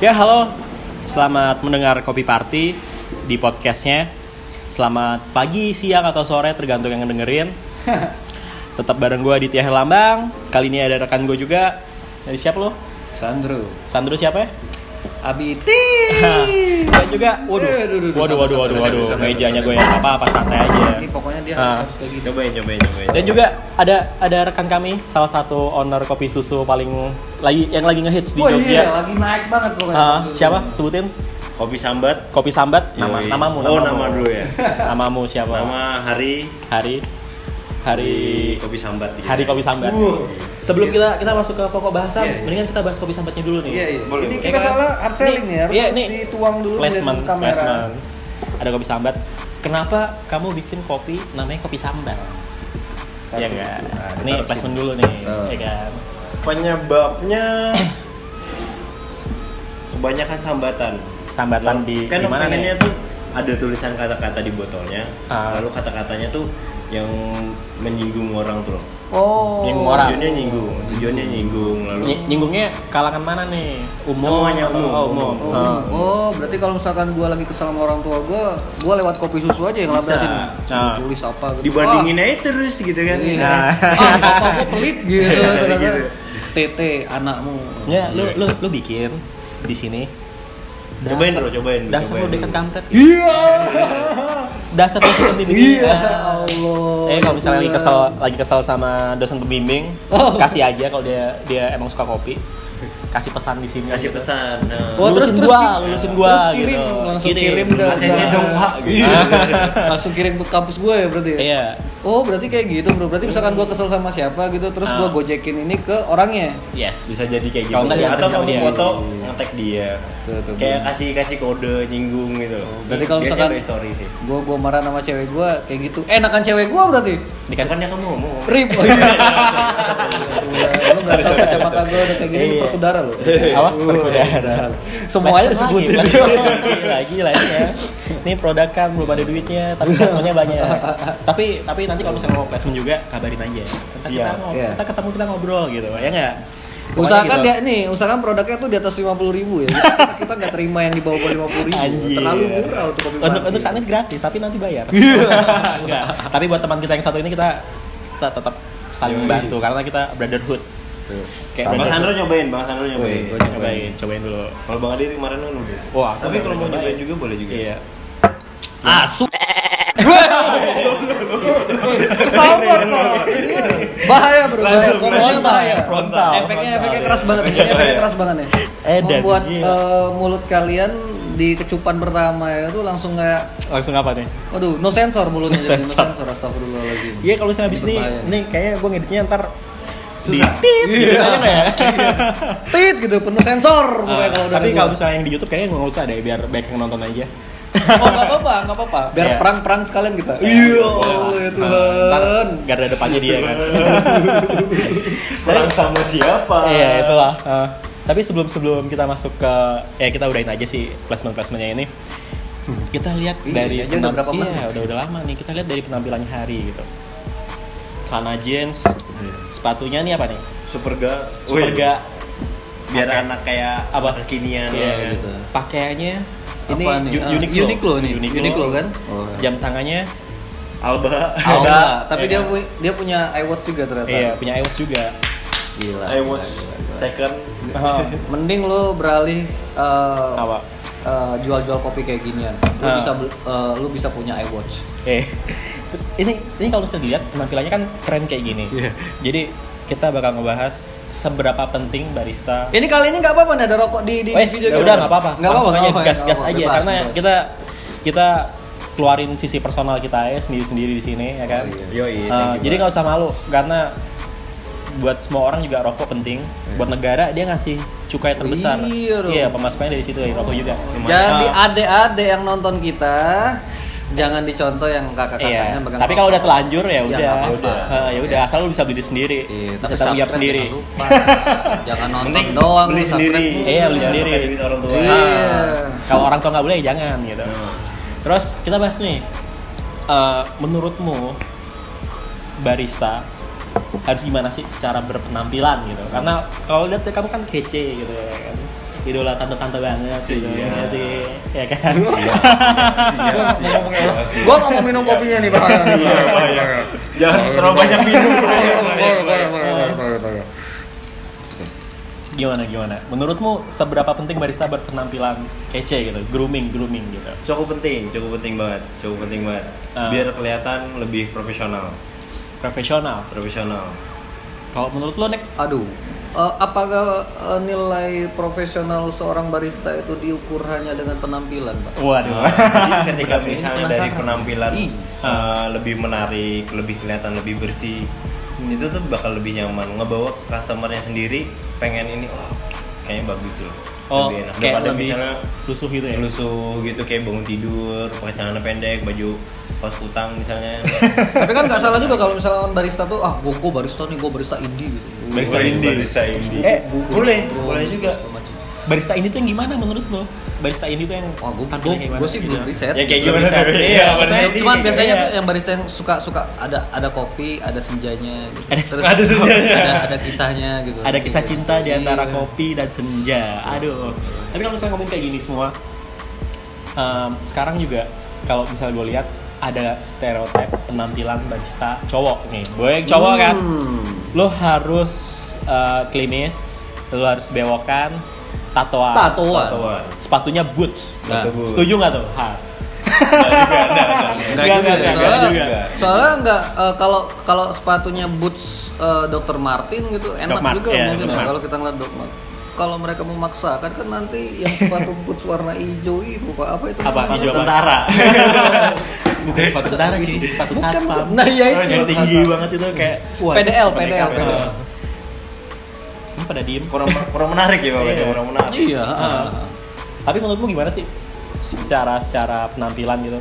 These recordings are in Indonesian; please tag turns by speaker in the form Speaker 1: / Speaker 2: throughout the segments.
Speaker 1: Ya halo, selamat mendengar Kopi Party di podcastnya. Selamat pagi, siang, atau sore tergantung yang dengerin. Tetap bareng gue Aditya Herlambang. Kali ini ada rekan gue juga. Dari siapa lo?
Speaker 2: Sandro
Speaker 1: Sandro siapa ya?
Speaker 2: Abiti
Speaker 1: Dan juga,
Speaker 2: Eh, aduh,
Speaker 1: waduh, waduh,
Speaker 2: aduh,
Speaker 1: waduh,
Speaker 2: santai,
Speaker 1: waduh,
Speaker 2: santai,
Speaker 1: waduh,
Speaker 2: santai,
Speaker 1: mejanya
Speaker 2: santai.
Speaker 1: gue yang apa-apa santai aja.
Speaker 2: Iya. ini pokoknya dia
Speaker 1: Ah.
Speaker 2: harus kayak gitu
Speaker 3: Cobain, cobain, cobain.
Speaker 1: Dan juga ada ada rekan kami, salah satu owner kopi susu paling lagi yang lagi ngehits di
Speaker 2: Wah iya
Speaker 1: Jogja.
Speaker 2: lagi naik banget kan. pokoknya
Speaker 1: Ah, siapa? Sebutin.
Speaker 3: kopi sambat.
Speaker 1: Kopi Sambat, nama
Speaker 3: Yoi.
Speaker 1: namamu, namamu.
Speaker 3: Oh, nama dulu ya.
Speaker 1: Namamu siapa?
Speaker 3: Nama hari
Speaker 1: hari hari
Speaker 3: di kopi sambat. gitu.
Speaker 1: hari kopi sambat.
Speaker 2: Wuh.
Speaker 1: Sebelum kita kita masuk ke pokok bahasan,
Speaker 2: Uh. Iya, iya.
Speaker 1: mendingan kita bahas kopi sambatnya dulu nih.
Speaker 2: iya iya
Speaker 3: Boleh,
Speaker 2: ini
Speaker 3: boleh.
Speaker 2: kita
Speaker 1: Iya kan?
Speaker 2: soalnya hard selling
Speaker 1: Nih,
Speaker 2: ya harus,
Speaker 1: iya,
Speaker 2: harus
Speaker 1: nih.
Speaker 2: dituang dulu biar
Speaker 1: Placement,
Speaker 2: di kamera
Speaker 1: placement. Ada kopi sambat. Kenapa kamu bikin kopi namanya kopi sambat?
Speaker 2: Taruh
Speaker 1: Iya
Speaker 2: dulu.
Speaker 1: enggak?
Speaker 2: Nah,
Speaker 1: nih
Speaker 2: ditaruh
Speaker 1: placement
Speaker 2: sini.
Speaker 1: dulu nih,
Speaker 2: Oh.
Speaker 1: ya kan?
Speaker 3: Penyebabnya kebanyakan sambatan.
Speaker 1: Sambatan di
Speaker 3: kan
Speaker 1: di mana
Speaker 3: pengennya
Speaker 1: nih?
Speaker 3: tuh ada tulisan kata-kata di botolnya.
Speaker 1: Ah.
Speaker 3: Lalu kata-katanya tuh yang menyinggung orang tuh. loh.
Speaker 2: oh
Speaker 1: Yang murah.
Speaker 3: Tujuannya nyinggung, tujuannya nyinggung lalu
Speaker 1: Ny- Nyinggungnya kalangan mana nih? Umum
Speaker 3: Semuanya
Speaker 1: atau-
Speaker 3: umum,
Speaker 1: oh, umum.
Speaker 2: Oh,
Speaker 1: Oh.
Speaker 2: oh, berarti kalau misalkan gua lagi kesel sama orang tua gua, gua lewat kopi susu aja yang
Speaker 3: Bisa.
Speaker 2: labrasin.
Speaker 1: Nah.
Speaker 2: Coba tulis apa gitu.
Speaker 3: dibandingin aja terus gitu
Speaker 2: Ah,
Speaker 3: kan.
Speaker 2: iya.
Speaker 1: Nah.
Speaker 2: Ah, papa gua pelit gitu
Speaker 3: Iya,
Speaker 2: ternyata.
Speaker 3: gitu.
Speaker 2: Tete anakmu.
Speaker 1: Ya, lu lu lu bikin di sini.
Speaker 3: Cobain
Speaker 1: Dasar-
Speaker 3: dulu, cobain dulu,
Speaker 1: Dasar lu
Speaker 3: cobain
Speaker 1: dekat
Speaker 3: dulu.
Speaker 1: kampret. gitu.
Speaker 2: Iya.
Speaker 1: dasar lu seperti ini.
Speaker 2: Iya.
Speaker 1: Ah.
Speaker 2: Allah.
Speaker 1: Eh kalau misalnya lagi
Speaker 2: Iya.
Speaker 1: kesel lagi kesel sama dosen pembimbing,
Speaker 2: Oh.
Speaker 1: kasih aja kalau dia dia emang suka kopi. Kasih pesan di sini.
Speaker 3: Kasih
Speaker 1: gitu.
Speaker 3: pesan. Nah.
Speaker 2: Oh,
Speaker 1: Lulusin
Speaker 2: terus- terus
Speaker 1: gua,
Speaker 2: ki-
Speaker 1: lulusin gua
Speaker 2: terus kirim,
Speaker 1: gitu.
Speaker 2: langsung kirim ke-
Speaker 3: Prosesnya dong, Pak, gitu.
Speaker 2: Iya. Langsung kirim ke kampus gua ya berarti. ya?
Speaker 1: Iya.
Speaker 2: Oh, berarti kayak gitu, Bro. Berarti misalkan gua kesel sama siapa gitu, terus
Speaker 1: Ah.
Speaker 2: gua gojekin ini ke orangnya.
Speaker 1: Yes.
Speaker 3: bisa jadi kayak gitu
Speaker 1: Kalau nggak diantar
Speaker 3: atau
Speaker 1: sama
Speaker 3: kamu
Speaker 1: dia. gitu.
Speaker 3: foto ngetek dia
Speaker 2: Tuh, tuh,
Speaker 3: kayak
Speaker 1: kan.
Speaker 2: bener.
Speaker 3: kasih kasih kode nyinggung gitu loh
Speaker 2: berarti kalau
Speaker 3: Biasanya
Speaker 2: misalkan-
Speaker 3: dari story sih
Speaker 2: Gua gua marah sama cewek gua kayak gitu. Enakan cewek gua berarti.
Speaker 1: Dikan-
Speaker 3: bukannya kamu ngomong
Speaker 2: Rip. Oh, iya. Lu enggak tahu kacamata gua udah kayak gini
Speaker 1: Iya.
Speaker 2: berkudara loh.
Speaker 1: Apa?
Speaker 2: Uh,
Speaker 1: Perkudara.
Speaker 2: Semuanya
Speaker 1: Placement
Speaker 2: disebutin.
Speaker 1: lagi, placement lagi, lagi lah ya. Ini produk kan belum ada duitnya, tapi placementnya banyak. tapi tapi nanti kalau misalnya mau placement juga kabarin aja. Kita,
Speaker 3: Iya.
Speaker 1: kita, ngob-
Speaker 2: Iya.
Speaker 1: kita ketemu kita ngobrol gitu, ya nggak? Pokoknya
Speaker 2: Usahakan
Speaker 1: gitu.
Speaker 2: dia nih, usahakan produknya tuh di atas 50.000 ya. Kita- Kita nggak terima yang di bawah 50.000.
Speaker 1: Anjir.
Speaker 2: Terlalu murah untuk kopi
Speaker 1: Untuk
Speaker 2: mati.
Speaker 1: untuk saat ini gratis, tapi nanti bayar. Enggak. Tapi buat teman kita yang satu ini kita kita tetap saling
Speaker 3: Yoi.
Speaker 1: membantu karena kita brotherhood. Kayak
Speaker 3: Bang
Speaker 1: brotherhood.
Speaker 3: Sandro nyobain Bang Sandro nyobain
Speaker 2: Woi, gua
Speaker 1: Cobain, cobain dulu.
Speaker 3: kalau Bang Adi kemarin kan udah
Speaker 1: Wah, aku
Speaker 3: tapi
Speaker 1: udah
Speaker 3: kalau mau
Speaker 1: nyobain.
Speaker 3: nyobain juga boleh juga
Speaker 1: Iya.
Speaker 2: Asu. Kesambar loh. Iya. Bahaya bro, bahaya.
Speaker 3: Langsung,
Speaker 2: Ngomongnya
Speaker 3: langsung.
Speaker 2: bahaya.
Speaker 3: Frontal,
Speaker 2: Efeknya
Speaker 3: frontal.
Speaker 2: efeknya keras banget. Ini efeknya keras banget ya.
Speaker 1: Edan,
Speaker 2: Membuat
Speaker 1: gila.
Speaker 2: eh, mulut kalian di kecupan pertama ya itu langsung kayak
Speaker 1: Langsung apa nih?
Speaker 2: Waduh, no sensor mulutnya
Speaker 1: No
Speaker 2: jadi,
Speaker 1: sensor.
Speaker 2: no sensor astagfirullahaladzim.
Speaker 1: Iya kalau misalnya abis ini,
Speaker 2: berbahaya.
Speaker 1: ini kayaknya gue ngeditnya ntar
Speaker 3: Susah.
Speaker 1: di tit gitu aja
Speaker 2: Iya.
Speaker 1: nggak ya?
Speaker 2: Tit gitu, penuh sensor pokoknya
Speaker 1: Ah,
Speaker 2: kalau udah
Speaker 1: Tapi
Speaker 2: ada
Speaker 1: kalau
Speaker 2: gua.
Speaker 1: misalnya yang di YouTube kayaknya nggak usah deh, biar banyak yang nonton aja.
Speaker 2: Oh, enggak apa-apa, enggak apa-apa. Biar
Speaker 1: Iya.
Speaker 2: perang-perang sekalian kita. Iya, Allah
Speaker 1: Ah,
Speaker 2: ya
Speaker 1: Ntar
Speaker 2: Tuhan.
Speaker 1: garda depannya dia kan.
Speaker 2: iya,
Speaker 3: perang sama siapa
Speaker 1: Iya itulah. Uh, tapi sebelum sebelum kita masuk ke ya kita udahin aja sih placement placementnya ini. Kita lihat
Speaker 2: Iya,
Speaker 1: dari
Speaker 2: aja udah
Speaker 1: penamp-
Speaker 2: berapa
Speaker 1: iya,
Speaker 2: menit?
Speaker 1: udah udah lama nih. Kita lihat dari penampilannya hari gitu. Celana jeans,
Speaker 2: Iya.
Speaker 1: sepatunya nih apa nih?
Speaker 3: Superga
Speaker 1: Superga
Speaker 3: biar
Speaker 1: Pakai.
Speaker 3: anak kayak
Speaker 1: Apa?
Speaker 3: apa kekinian
Speaker 1: Iya,
Speaker 3: kan.
Speaker 2: gitu.
Speaker 1: Pakaiannya ini
Speaker 2: Apa nih?
Speaker 1: Uni-
Speaker 2: Ah,
Speaker 1: Uniqlo.
Speaker 2: Uniqlo nih, Uniqlo kan? Oh.
Speaker 1: Jam tangannya
Speaker 3: Alba
Speaker 2: Oh,
Speaker 1: Alba.
Speaker 2: enggak, tapi
Speaker 1: Iya.
Speaker 2: dia pu- dia punya iWatch juga ternyata.
Speaker 1: iya punya iWatch juga.
Speaker 2: Gila.
Speaker 3: I watch second
Speaker 1: Oh,
Speaker 2: Mending lo beralih eh,
Speaker 1: Apa?
Speaker 2: eh, jual-jual kopi kayak ginian. Lo
Speaker 1: Ah.
Speaker 2: bisa bel- eh, lo bisa punya iWatch.
Speaker 1: Eh, ini ini kalau misalnya dilihat penampilannya kan keren kayak gini.
Speaker 2: Iya.
Speaker 1: Jadi kita bakal ngebahas seberapa penting barista.
Speaker 2: Ini kali ini nggak apa-apa nih ada rokok di di, di
Speaker 1: Wes,
Speaker 2: video
Speaker 1: ya
Speaker 2: kita.
Speaker 1: udah nggak apa-apa.
Speaker 2: Nggak apa-apa.
Speaker 1: Langsung aja
Speaker 2: nggak apa-apa,
Speaker 1: gas-gas
Speaker 2: nggak apa-apa,
Speaker 1: aja
Speaker 2: bebas,
Speaker 1: karena
Speaker 2: bebas.
Speaker 1: kita kita keluarin sisi personal kita ya sendiri-sendiri di sini ya kan.
Speaker 2: Oh,
Speaker 3: Yoi,
Speaker 1: Eh,
Speaker 3: thank you,
Speaker 1: jadi
Speaker 3: Bang.
Speaker 1: nggak usah malu karena buat semua orang juga rokok penting. Buat negara dia ngasih cukai terbesar.
Speaker 2: Iya, dong.
Speaker 1: Iya, pemasukannya dari situ ya rokok juga.
Speaker 2: Jadi
Speaker 1: Ah.
Speaker 2: adik-adik yang nonton kita jangan dicontoh yang
Speaker 1: Iya.
Speaker 2: kakak-kakaknya megang
Speaker 1: Tapi kalau udah
Speaker 2: rokok. Iya,
Speaker 1: telanjur ya udah.
Speaker 2: nggak apa-apa.
Speaker 1: udah. ya udah asal lu bisa beli sendiri.
Speaker 2: Iya,
Speaker 1: bisa tanggung jawab
Speaker 2: subscribe
Speaker 1: sendiri.
Speaker 2: jangan lupa. jangan nonton
Speaker 3: Mending
Speaker 2: doang
Speaker 3: beli
Speaker 2: lu subscribe.
Speaker 3: sendiri
Speaker 1: Iya, beli
Speaker 3: Jangan
Speaker 1: sendiri.
Speaker 3: pakai duit orang tua
Speaker 2: Iya.
Speaker 1: Nah, Kalau orang tua nggak boleh ya jangan gitu.
Speaker 3: Nah.
Speaker 1: Terus kita bahas nih. eh, menurutmu barista harus gimana sih secara berpenampilan gitu karena kalau lihat kamu kan kece gitu ya kan idola tante-tante banget gitu
Speaker 3: Iya.
Speaker 1: ya sih ya kan
Speaker 3: Siap, siap, siap, siap.
Speaker 2: Gua nggak mau minum kopinya nih, Pak.
Speaker 3: Iya, Pak, ya. Jangan terlalu banyak minum. Pak, ya, Pak, ya, Pak, ya.
Speaker 1: gimana gimana menurutmu seberapa penting barista berpenampilan kece gitu grooming grooming gitu
Speaker 3: Cukup penting, cukup penting banget, cukup penting banget.
Speaker 1: Ah.
Speaker 3: Biar kelihatan lebih profesional,
Speaker 1: profesional
Speaker 3: profesional.
Speaker 1: kalau menurut lo nek
Speaker 2: Aduh. Eh, apakah eh, nilai profesional seorang barista itu diukur hanya dengan penampilan, Pak?
Speaker 1: waduh
Speaker 3: Jadi ketika misalnya dari
Speaker 2: Penasaran.
Speaker 3: penampilan
Speaker 2: Ih.
Speaker 3: uh, lebih menarik, lebih kelihatan lebih bersih, itu tuh bakal lebih nyaman. Ngebawa ke customernya sendiri, pengen ini, oh, kayaknya bagus loh.
Speaker 1: oh
Speaker 3: lebih enak.
Speaker 1: kayak
Speaker 3: Daripada
Speaker 1: lebih
Speaker 3: misalnya
Speaker 1: lusuh gitu ya
Speaker 3: lusuh gitu kayak bangun tidur, pakai celana pendek, baju kaos utang misalnya.
Speaker 2: Tapi kan nggak salah juga kalau misalnya orang barista tuh ah gua, gua barista nih, gua barista indie gitu.
Speaker 1: Barista
Speaker 3: Boleh,
Speaker 1: indie.
Speaker 3: barista indie.
Speaker 1: Eh,
Speaker 2: Gua- gua-
Speaker 1: boleh,
Speaker 2: gua-
Speaker 1: boleh
Speaker 2: gua-
Speaker 1: juga. Ya,
Speaker 2: segala macam.
Speaker 1: barista ini tuh yang gimana menurut lo barista ini tuh yang
Speaker 2: Wah, gua,
Speaker 1: tampilnya
Speaker 2: gua,
Speaker 1: kayak
Speaker 2: gua
Speaker 1: gimana
Speaker 2: sih
Speaker 1: gitu?
Speaker 2: belum riset.
Speaker 3: ya kayak
Speaker 1: Belum
Speaker 3: gimana
Speaker 1: riset.
Speaker 3: tapi
Speaker 1: Iya,
Speaker 3: maksudnya
Speaker 1: maksudnya
Speaker 2: Cuman
Speaker 1: Iya.
Speaker 2: biasanya
Speaker 1: Iya.
Speaker 2: tuh ya. yang barista yang suka suka ada ada kopi, ada senjanya gitu.
Speaker 1: Ada- ada senjanya.
Speaker 2: Ada, ada kisahnya gitu.
Speaker 1: ada kisah cinta di antara
Speaker 2: Iya.
Speaker 1: kopi dan senja. Aduh. Tapi kalau misalnya ngomong kayak gini semua, em, sekarang juga kalau misalnya gue lihat ada stereotip penampilan barista cowok nih. Gue yang cowok kan,
Speaker 2: Hmm.
Speaker 1: lo harus eh, klimis, lo harus bewokan, tatoan,
Speaker 2: Tatoan.
Speaker 3: Tatoan.
Speaker 1: sepatunya boots.
Speaker 2: Nah.
Speaker 1: Sepatu boots. Setuju nggak tuh? Ha.
Speaker 2: Enggak
Speaker 1: Enggak, enggak,
Speaker 2: juga, enggak,
Speaker 1: enggak
Speaker 2: soalnya,
Speaker 1: juga.
Speaker 2: soalnya enggak eh, kalau kalau sepatunya boots eh, Dr. Martin gitu enak
Speaker 1: Doc Mart,
Speaker 2: juga
Speaker 1: iya,
Speaker 2: mungkin
Speaker 1: Doc
Speaker 2: ya,
Speaker 1: Mart.
Speaker 2: kalau kita ngeliat Doc Mart. Kalau mereka memaksakan kan nanti yang sepatu boots warna hijau itu Pak, apa itu?
Speaker 1: Apa?
Speaker 2: namanya?
Speaker 1: Hijau apa?
Speaker 2: Tentara.
Speaker 1: Bukan sepatu tentara sih, sepatu
Speaker 2: Bukan,
Speaker 1: satpam.
Speaker 2: bukan. Nah, iya
Speaker 1: Oh,
Speaker 2: itu.
Speaker 1: yang tinggi banget itu kayak
Speaker 2: Wah, PDL,
Speaker 1: sepatu
Speaker 2: PDL.
Speaker 1: mereka. Ini pada diem.
Speaker 3: kurang kurang menarik ya Pak,
Speaker 1: Iya.
Speaker 3: kurang menarik.
Speaker 2: Iya.
Speaker 1: Ah. Tapi menurutmu gimana sih secara secara penampilan gitu?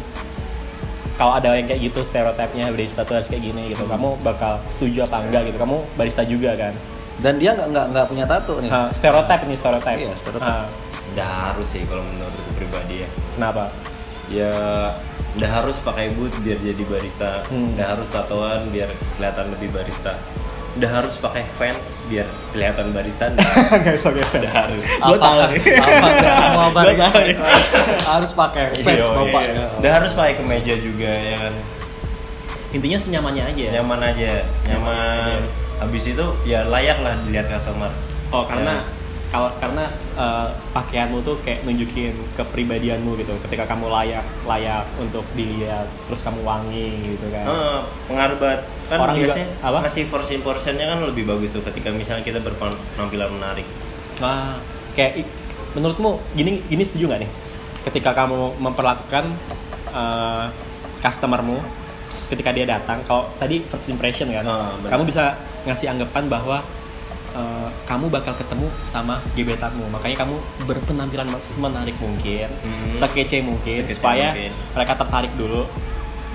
Speaker 1: Kalau ada yang kayak gitu stereotipnya barista tuh harus kayak gini gitu, kamu bakal setuju apa enggak gitu? Kamu barista juga kan?
Speaker 2: Dan dia enggak enggak enggak punya tato nih.
Speaker 1: Nah, stereotip ini stereotip.
Speaker 2: Iya, stereotip.
Speaker 1: Ah,
Speaker 3: Udah harus sih kalau menurutku pribadi ya.
Speaker 1: kenapa?
Speaker 3: ya udah harus pakai boot biar jadi barista
Speaker 1: Hmm.
Speaker 3: udah harus tatoan biar kelihatan lebih barista udah harus pakai fans biar kelihatan barista Nah,
Speaker 1: Enggak bisa gue
Speaker 3: udah harus
Speaker 1: Gua tahu
Speaker 2: Apakah,
Speaker 1: nih.
Speaker 2: apakah
Speaker 1: Gua
Speaker 2: semua
Speaker 1: tahu
Speaker 2: barista
Speaker 1: nih.
Speaker 2: harus pakai fans
Speaker 3: Iya,
Speaker 2: bapak
Speaker 3: iya.
Speaker 2: ya?
Speaker 3: udah harus pakai kemeja juga ya kan
Speaker 1: Intinya senyamannya aja.
Speaker 3: Iya. nyaman aja nyaman
Speaker 1: Iya.
Speaker 3: habis itu ya layak lah dilihat customer
Speaker 1: Oh karena kalau karena eh, pakaianmu tuh kayak nunjukin kepribadianmu gitu. Ketika kamu layak layak untuk dilihat, terus kamu wangi gitu kan.
Speaker 3: Ya. Eh, pengaruh banget kan
Speaker 1: Orang juga-
Speaker 3: biasanya
Speaker 1: apa?
Speaker 3: ngasih portion portionnya kan lebih bagus tuh ketika misalnya kita berpenampilan menarik
Speaker 1: Nah, kayak i- menurutmu gini gini setuju nggak nih? Ketika kamu memperlakukan eh, customermu ketika dia datang, kalau tadi first impression kan,
Speaker 3: Ah, benar.
Speaker 1: kamu bisa ngasih anggapan bahwa eh, kamu bakal ketemu sama gebetanmu, makanya kamu berpenampilan menarik mungkin,
Speaker 3: Hmm.
Speaker 1: sekece mungkin,
Speaker 3: Sekece
Speaker 1: supaya
Speaker 3: mungkin.
Speaker 1: mereka tertarik dulu.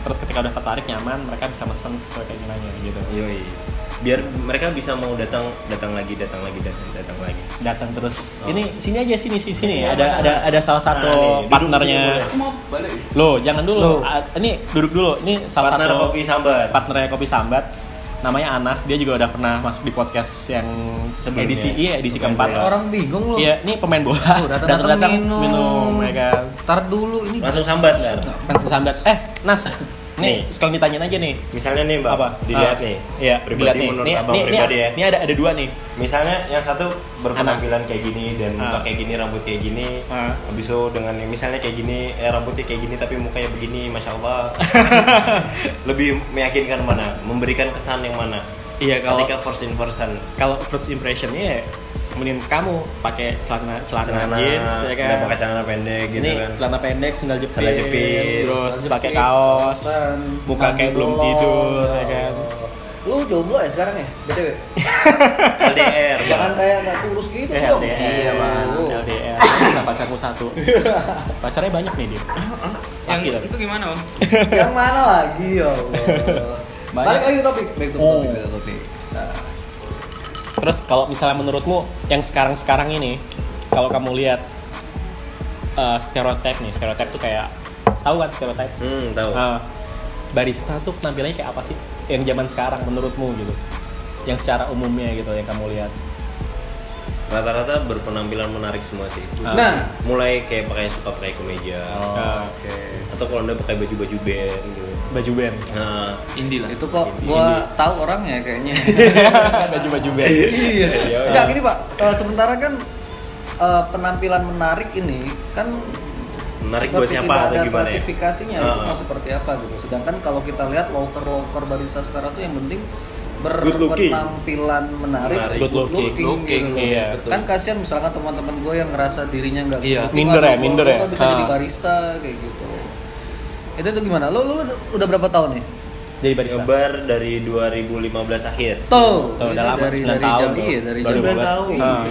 Speaker 1: Terus ketika udah tertarik nyaman, mereka bisa pesan sesuai keinginannya gitu.
Speaker 3: yoi biar mereka bisa mau datang datang lagi datang lagi datang datang lagi
Speaker 1: datang terus.
Speaker 3: Oh.
Speaker 1: Ini sini aja sini sini sini.
Speaker 3: Iya,
Speaker 1: Ada
Speaker 3: Mas,
Speaker 1: ada
Speaker 3: Mas.
Speaker 1: ada salah satu
Speaker 3: Nah, nih, duduk
Speaker 1: partnernya.
Speaker 3: sini
Speaker 1: Loh, jangan dulu.
Speaker 2: Loh.
Speaker 1: A- ini duduk dulu. Ini salah
Speaker 3: partner
Speaker 1: satu
Speaker 3: kopi sambar
Speaker 1: partnernya kopi sambat. Namanya Anas. Dia juga udah pernah masuk di podcast yang
Speaker 3: Sebelumnya.
Speaker 1: edisi iya edisi
Speaker 3: Pemain
Speaker 1: keempat.
Speaker 3: bola.
Speaker 2: Orang bingung loh.
Speaker 1: Iya, ini pemain bola.
Speaker 2: Tuh, datang-datang minum.
Speaker 1: mereka
Speaker 2: Ntar dulu ini
Speaker 3: langsung sambat ntar
Speaker 1: ya kan si sambat. Eh, Nas. Nih,
Speaker 3: Nih.
Speaker 1: sekalian ditanyain aja nih.
Speaker 3: misalnya nih mbak
Speaker 1: Apa?
Speaker 3: dilihat
Speaker 1: Ah,
Speaker 3: nih
Speaker 1: Iya, dilihat
Speaker 3: pribadi
Speaker 1: nih.
Speaker 3: menurut
Speaker 1: Nih, nih, ah.
Speaker 3: abang
Speaker 1: nih,
Speaker 3: pribadi ya
Speaker 1: Ini ada ada dua nih.
Speaker 3: misalnya yang satu berpenampilan kayak gini dan
Speaker 1: Ah.
Speaker 3: muka kayak gini rambut kayak gini
Speaker 1: Ah.
Speaker 3: habis itu dengan yang misalnya kayak gini eh, rambutnya kayak gini tapi mukanya begini masya allah lebih meyakinkan mana memberikan kesan yang mana
Speaker 1: Iya,
Speaker 3: ketika first in person
Speaker 1: kalau first impressionnya ya kemudian kamu pakai celana celana,
Speaker 3: celana
Speaker 1: jeans ya kan
Speaker 3: udah pakai celana pendek gitu
Speaker 1: ini
Speaker 3: kan
Speaker 1: celana pendek sendal jepit,
Speaker 3: Sandal jepit.
Speaker 1: terus
Speaker 2: Lanjut,
Speaker 1: pakai
Speaker 2: Pik.
Speaker 1: kaos
Speaker 2: Kaosan,
Speaker 1: muka
Speaker 2: mandi
Speaker 1: kayak belum
Speaker 2: dulu.
Speaker 1: tidur ya kan Iya,
Speaker 2: Lu jomblo ya sekarang ya? BTW.
Speaker 3: LDR
Speaker 2: Jangan kayak enggak kurus gitu
Speaker 1: Eh,
Speaker 2: dong.
Speaker 1: LDR,
Speaker 2: Iya, Bang.
Speaker 1: LDR. Nah, pacarku satu. Pacarnya banyak nih dia. Laki
Speaker 4: Yang
Speaker 1: tapi.
Speaker 4: itu gimana om?
Speaker 2: Yang mana lagi ya Allah.
Speaker 1: Banyak.
Speaker 2: Balik lagi ke topik. Back to
Speaker 1: Oh.
Speaker 2: topik, back to topik. Nah,
Speaker 1: Terus kalau misalnya menurutmu yang sekarang-sekarang ini kalau kamu lihat eh, stereotip nih, stereotip tuh kayak tahu kan stereotip?
Speaker 3: hmm tahu
Speaker 1: Ah. Nah, barista tuh penampilannya kayak apa sih yang zaman sekarang menurutmu gitu? yang secara umumnya gitu yang kamu lihat
Speaker 3: rata-rata berpenampilan menarik semua sih
Speaker 1: Ah.
Speaker 2: Nah,
Speaker 3: mulai kayak pakai suka pakai kemeja
Speaker 1: Ah.
Speaker 2: oke.
Speaker 3: atau kalau anda pakai baju-baju band gitu
Speaker 1: baju band
Speaker 3: nah
Speaker 4: Indie lah.
Speaker 2: Itu kok gua tahu orangnya kayaknya.
Speaker 1: baju baju band
Speaker 2: iya.
Speaker 3: Iya,
Speaker 2: Enggak
Speaker 1: iya.
Speaker 2: gini Pak, Eh, sementara kan eh, penampilan menarik ini kan
Speaker 3: Menarik
Speaker 2: seperti
Speaker 3: buat siapa
Speaker 2: tidak
Speaker 3: atau
Speaker 2: ada
Speaker 3: gimana ya?
Speaker 2: klasifikasinya itu
Speaker 3: Ah.
Speaker 2: mau seperti apa gitu. Sedangkan kalau kita lihat walker-walker barista sekarang tuh yang penting
Speaker 1: Good looking.
Speaker 2: berpenampilan menarik,
Speaker 3: Menarik.
Speaker 1: Good looking.
Speaker 4: Looking,
Speaker 2: gitu.
Speaker 1: iya.
Speaker 2: Kan kasihan misalkan teman-teman gue yang ngerasa dirinya nggak
Speaker 4: Iya.
Speaker 2: good looking,
Speaker 1: Minder ya,
Speaker 2: aduh, gua-
Speaker 1: minder
Speaker 2: gua
Speaker 1: ya.
Speaker 2: nggak bisa jadi
Speaker 1: Ah.
Speaker 2: barista kayak gitu. Itu tuh gimana? Lo, lo, lo udah berapa tahun nih?
Speaker 1: jadi barista
Speaker 3: nyobar dari 2015 akhir
Speaker 2: Tuh,
Speaker 1: Tuh,
Speaker 2: ini
Speaker 1: udah lama, 9
Speaker 2: dari
Speaker 1: tahun
Speaker 2: jam,
Speaker 1: tuh.
Speaker 2: iya, dari
Speaker 1: Baru
Speaker 2: jam
Speaker 1: 12.
Speaker 2: tahu.
Speaker 1: Ah.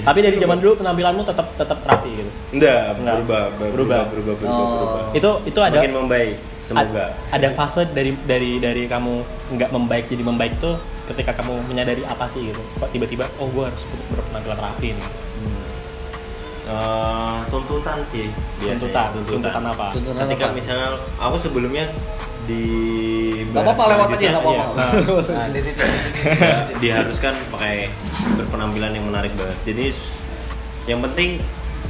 Speaker 1: tapi dari zaman dulu penampilanmu tetap tetap rapi gitu
Speaker 3: enggak
Speaker 1: Enggak.
Speaker 3: berubah berubah
Speaker 1: Berubah.
Speaker 3: berubah berubah, berubah,
Speaker 2: Oh.
Speaker 1: itu itu ada
Speaker 3: Semakin membaik semoga
Speaker 1: ad- ada fase dari dari dari kamu nggak membaik jadi membaik tuh ketika kamu menyadari apa sih gitu kok tiba-tiba oh gue harus ber- berpenampilan rapi nih
Speaker 3: Eh, tuntutan Iya sih biasanya.
Speaker 1: tuntutan tuntutan apa
Speaker 2: Tuntutan
Speaker 3: ketika
Speaker 2: apa?
Speaker 3: misalnya aku sebelumnya di Iya.
Speaker 2: Gak apa-apa lewat aja, gak apa-apa.
Speaker 1: Nah,
Speaker 2: Nah, ini- ini- ini.
Speaker 3: Nah, diharuskan pakai berpenampilan yang menarik banget jadi yang penting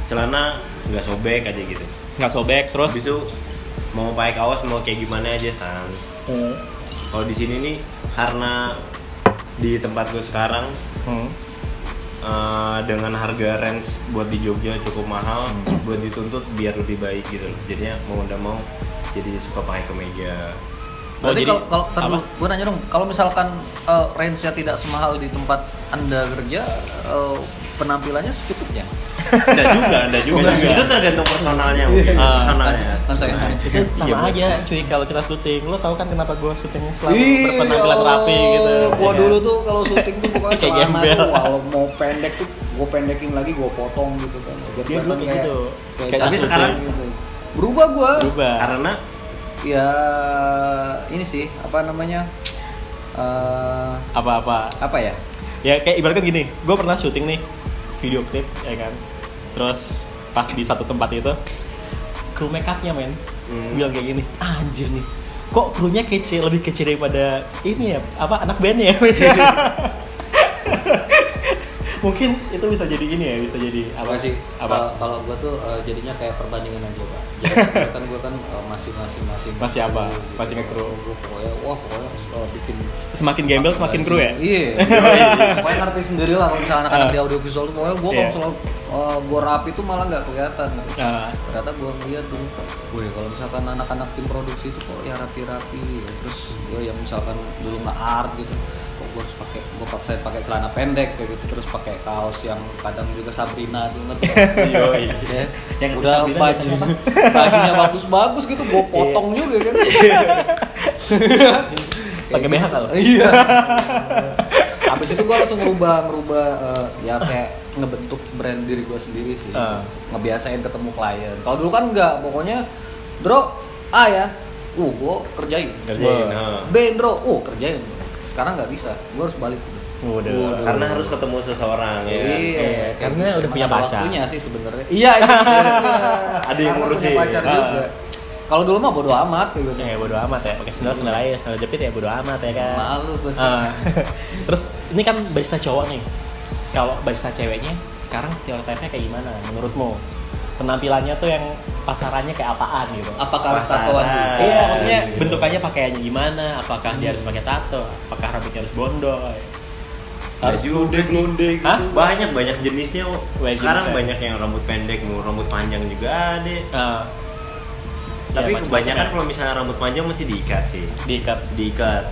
Speaker 3: celana nggak sobek aja gitu
Speaker 1: nggak sobek terus
Speaker 3: habis itu mau pakai kaos mau kayak gimana aja sans
Speaker 1: Hmm.
Speaker 3: kalau di sini nih karena di tempatku sekarang
Speaker 1: Hmm.
Speaker 3: eh, dengan harga range buat di Jogja cukup mahal
Speaker 1: Hmm.
Speaker 3: buat dituntut biar lebih baik gitu loh jadinya mau nggak mau jadi suka pakai kemeja
Speaker 1: Oh,
Speaker 2: Berarti
Speaker 1: jadi
Speaker 2: kalau
Speaker 1: apa?
Speaker 2: kalau gue nanya dong, kalau misalkan eh, range-nya tidak semahal di tempat anda kerja, eh, penampilannya secukupnya.
Speaker 3: Enggak juga, enggak juga.
Speaker 1: Enggak juga.
Speaker 3: Itu tergantung personalnya mungkin.
Speaker 1: Ah.
Speaker 3: personalnya.
Speaker 2: Kan saya.
Speaker 1: itu sama
Speaker 3: Iya,
Speaker 1: aja cuy kalau kita syuting lo tau kan kenapa gue syutingnya selalu
Speaker 2: Ih,
Speaker 1: berpenampilan
Speaker 2: ya
Speaker 1: rapi
Speaker 2: Allah.
Speaker 1: gitu
Speaker 2: Gua
Speaker 1: ya
Speaker 2: dulu
Speaker 1: kan?
Speaker 2: tuh kalau syuting tuh bukan
Speaker 1: Kayak
Speaker 2: celana
Speaker 1: gembel.
Speaker 2: tuh, kalau mau pendek tuh gue pendekin lagi, gue potong gitu kan. Biar
Speaker 1: Dia dulu
Speaker 2: kelihatan
Speaker 1: kayak gitu.
Speaker 2: kayak
Speaker 1: Kayak
Speaker 2: tapi
Speaker 3: tas
Speaker 2: sekarang
Speaker 3: syuting.
Speaker 2: gitu. berubah gue.
Speaker 1: berubah
Speaker 3: Nah, Karena
Speaker 2: Ya ini sih apa namanya? Eh,
Speaker 1: apa-apa
Speaker 2: apa ya?
Speaker 1: ya kayak ibaratkan gini gue pernah syuting nih video klip ya kan terus pas di satu tempat itu kru make upnya men
Speaker 3: Hmm.
Speaker 1: bilang kayak gini "Ah, anjir nih kok krunya kece lebih kece daripada ini ya apa anak bandnya ya mungkin itu bisa jadi ini ya bisa jadi apa
Speaker 2: apa sih
Speaker 1: apa
Speaker 2: Kalau- kalau gue tuh eh, jadinya kayak perbandingan aja pak jadi kan gue kan eh, masih masih masih gitu.
Speaker 1: Masih apa? Masih nge-crew.
Speaker 2: Gua pokoknya wah pokoknya eh, bikin
Speaker 1: semakin gembel semakin kru ya
Speaker 2: iya pokoknya ngerti sendiri lah kalau misalnya anak-anak
Speaker 1: Ah.
Speaker 2: di audiovisual tuh pokoknya gue
Speaker 1: Iya.
Speaker 2: kalau selalu eh, gue rapi tuh malah nggak kelihatan
Speaker 1: Ah.
Speaker 2: ternyata gue ngeliat dulu gue kalau misalkan anak-anak tim produksi itu kok ya rapi-rapi terus gue yang misalkan dulu nggak art gitu kok gue harus pakai gue paksain pakai celana pendek kayak gitu terus pakai kaos yang kadang juga Sabrina tuh ngerti nggak?
Speaker 3: Yoi.
Speaker 2: ya
Speaker 1: Yang
Speaker 2: udah
Speaker 1: kesabilan
Speaker 2: baju,
Speaker 1: biasanya apa? Iya.
Speaker 2: bajunya bagus-bagus gitu gue potong juga kan Kayak
Speaker 1: Pakai BH
Speaker 2: gitu.
Speaker 1: kalau?
Speaker 2: iya Nah, habis itu gue langsung ngerubah ngerubah eh, ya kayak ngebentuk brand diri gue sendiri sih
Speaker 1: Ah.
Speaker 2: ngebiasain ketemu klien kalau dulu kan enggak pokoknya bro A ya uh gue kerjain
Speaker 3: kerjain.
Speaker 1: Wah.
Speaker 3: ha.
Speaker 2: B bro uh kerjain sekarang nggak bisa gue harus balik
Speaker 1: Waduh.
Speaker 3: Karena harus ketemu seseorang ya. kan?
Speaker 1: Iya,
Speaker 2: kayak
Speaker 1: karena
Speaker 2: gitu.
Speaker 1: udah punya
Speaker 2: Emang ada
Speaker 1: pacar.
Speaker 2: Waktunya sih sebenarnya. Iya, itu dia.
Speaker 3: Ada yang
Speaker 2: Karena punya
Speaker 3: ngurusin.
Speaker 2: pacar
Speaker 1: Ah.
Speaker 2: juga. Kalau dulu mah bodo amat gitu.
Speaker 1: Ya bodo amat ya, pakai sandal sandal aja, sandal jepit ya bodo amat ya kan.
Speaker 2: Malu gua sekarang.
Speaker 1: Ah. Terus ini kan barista cowok nih. Kalau barista ceweknya sekarang stereotipnya kayak gimana menurutmu? Penampilannya tuh yang pasarannya kayak apaan gitu?
Speaker 2: Apakah harus
Speaker 3: Pasaran.
Speaker 2: tatoan juga?
Speaker 1: Iya, maksudnya bentukannya pakaiannya gimana? Apakah dia harus pakai tato? Apakah rambutnya harus bondoy?
Speaker 3: Ya juga sih.
Speaker 1: Hah?
Speaker 3: Banyak banyak jenisnya kok.
Speaker 1: Banyak
Speaker 3: Sekarang
Speaker 1: jenisnya.
Speaker 3: banyak yang rambut pendek, mau rambut panjang juga ada.
Speaker 1: Ah. Ya,
Speaker 3: Tapi
Speaker 1: macam-macam
Speaker 3: kebanyakan
Speaker 1: ya.
Speaker 3: kalau misalnya rambut panjang mesti diikat sih.
Speaker 1: diikat.
Speaker 3: Diikat.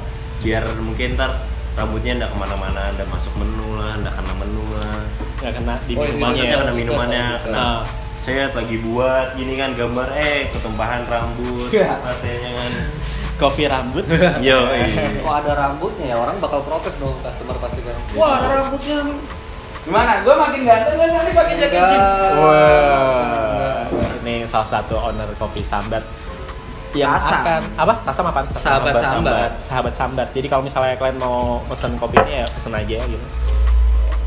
Speaker 3: Biar mungkin ntar rambutnya ndak kemana-mana, ndak masuk menu lah, ndak kena menu lah.
Speaker 1: nggak kena di
Speaker 2: Oh, ini
Speaker 1: minumannya.
Speaker 3: Maksudnya
Speaker 1: ya.
Speaker 3: kena
Speaker 2: Diikat,
Speaker 3: minumannya,
Speaker 2: diikat.
Speaker 3: kena
Speaker 1: Ah.
Speaker 3: saya lagi buat gini kan gambar eh ketumpahan rambut
Speaker 2: Ya.
Speaker 3: rasanya kan
Speaker 1: Kopi rambut.
Speaker 3: yo iya.
Speaker 2: Kok ada rambutnya ya orang bakal protes dong customer pasti kan. Wah, ada rambutnya nih.
Speaker 4: Gimana? Gue makin ganteng kan nanti pakai jaket jeans.
Speaker 1: Wah, ini salah satu owner kopi Sambat yang
Speaker 2: Sasam.
Speaker 1: akan apa? Sasam apa?
Speaker 2: Sahabat Sambat.
Speaker 1: Sahabat Sambat. Jadi kalau misalnya kalian mau pesen kopi ini ya pesen aja gitu.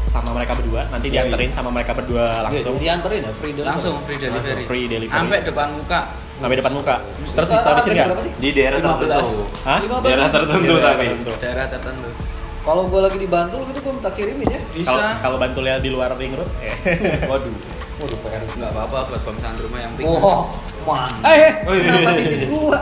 Speaker 1: Sama mereka berdua, nanti
Speaker 2: Iya,
Speaker 1: dianterin sama mereka berdua langsung
Speaker 2: Langsung dianterin ya free delivery.
Speaker 4: Langsung free delivery.
Speaker 1: Langsung free delivery.
Speaker 4: Sampai depan muka.
Speaker 1: sampai depan muka. Terus
Speaker 2: Eh,
Speaker 1: bisa habisin nggak?
Speaker 3: di daerah
Speaker 2: 15.
Speaker 3: tertentu
Speaker 1: Hah?
Speaker 2: Lima belas.
Speaker 3: daerah tertentu
Speaker 1: Daerah
Speaker 3: tapi
Speaker 1: tertentu.
Speaker 4: Daerah tertentu.
Speaker 2: Kalau gue lagi di Bantul gitu gue minta kirimin ya.
Speaker 1: Kalau
Speaker 4: Bisa.
Speaker 1: kalau bantulnya di luar ring road, eh.
Speaker 2: Waduh. Waduh, PR.
Speaker 4: Enggak apa-apa buat pemeriksaan rumah yang penting.
Speaker 2: Wah, wah. Eh, kenapa titik gua?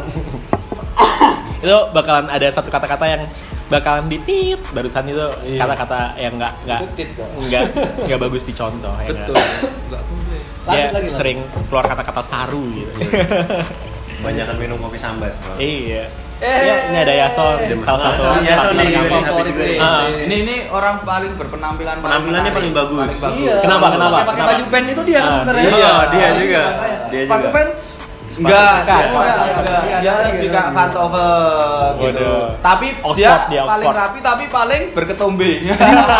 Speaker 1: itu bakalan ada satu kata-kata yang bakalan ditit barusan itu
Speaker 3: Iya.
Speaker 1: kata-kata yang nggak nggak
Speaker 2: Itu tit, Kak.
Speaker 1: nggak nggak bagus dicontoh ya nggak?
Speaker 4: Betul. Enggak boleh.
Speaker 1: dia
Speaker 2: Lanjut lagi, Mas.
Speaker 1: sering keluar kata-kata saru gitu
Speaker 3: Banyakan minum kopi sambat.
Speaker 1: iya
Speaker 2: Eh.
Speaker 1: Ya, ini ada Yason
Speaker 3: Ada
Speaker 1: salah satu
Speaker 3: Yason. Yason
Speaker 1: partner
Speaker 3: nih,
Speaker 1: yang
Speaker 3: gue
Speaker 1: favorit.
Speaker 2: favorit
Speaker 3: juga
Speaker 2: gue.
Speaker 3: nih.
Speaker 1: Ah,
Speaker 4: Ini ini orang paling berpenampilan
Speaker 3: Penampilannya paling bagus.
Speaker 4: Paling bagus.
Speaker 2: Iya.
Speaker 1: Kenapa, kenapa,
Speaker 2: Pakai
Speaker 1: kenapa?
Speaker 2: baju band itu dia
Speaker 1: Ah,
Speaker 2: sebenarnya.
Speaker 3: iya, dia
Speaker 2: Iya,
Speaker 3: juga.
Speaker 2: makanya.
Speaker 3: Dia
Speaker 2: Sepatu
Speaker 3: juga.
Speaker 2: fans.
Speaker 4: Enggak,
Speaker 1: Bukan.
Speaker 4: dia enggak,
Speaker 2: Bukan.
Speaker 4: enggak.
Speaker 2: Iya,
Speaker 4: Dia
Speaker 2: iya,
Speaker 4: lebih
Speaker 2: iya,
Speaker 4: kayak
Speaker 2: iya.
Speaker 4: pantofel gitu.
Speaker 1: Waduh.
Speaker 4: Tapi dia,
Speaker 1: Oxford, dia
Speaker 4: paling
Speaker 1: Oxford.
Speaker 4: rapi tapi paling berketombe.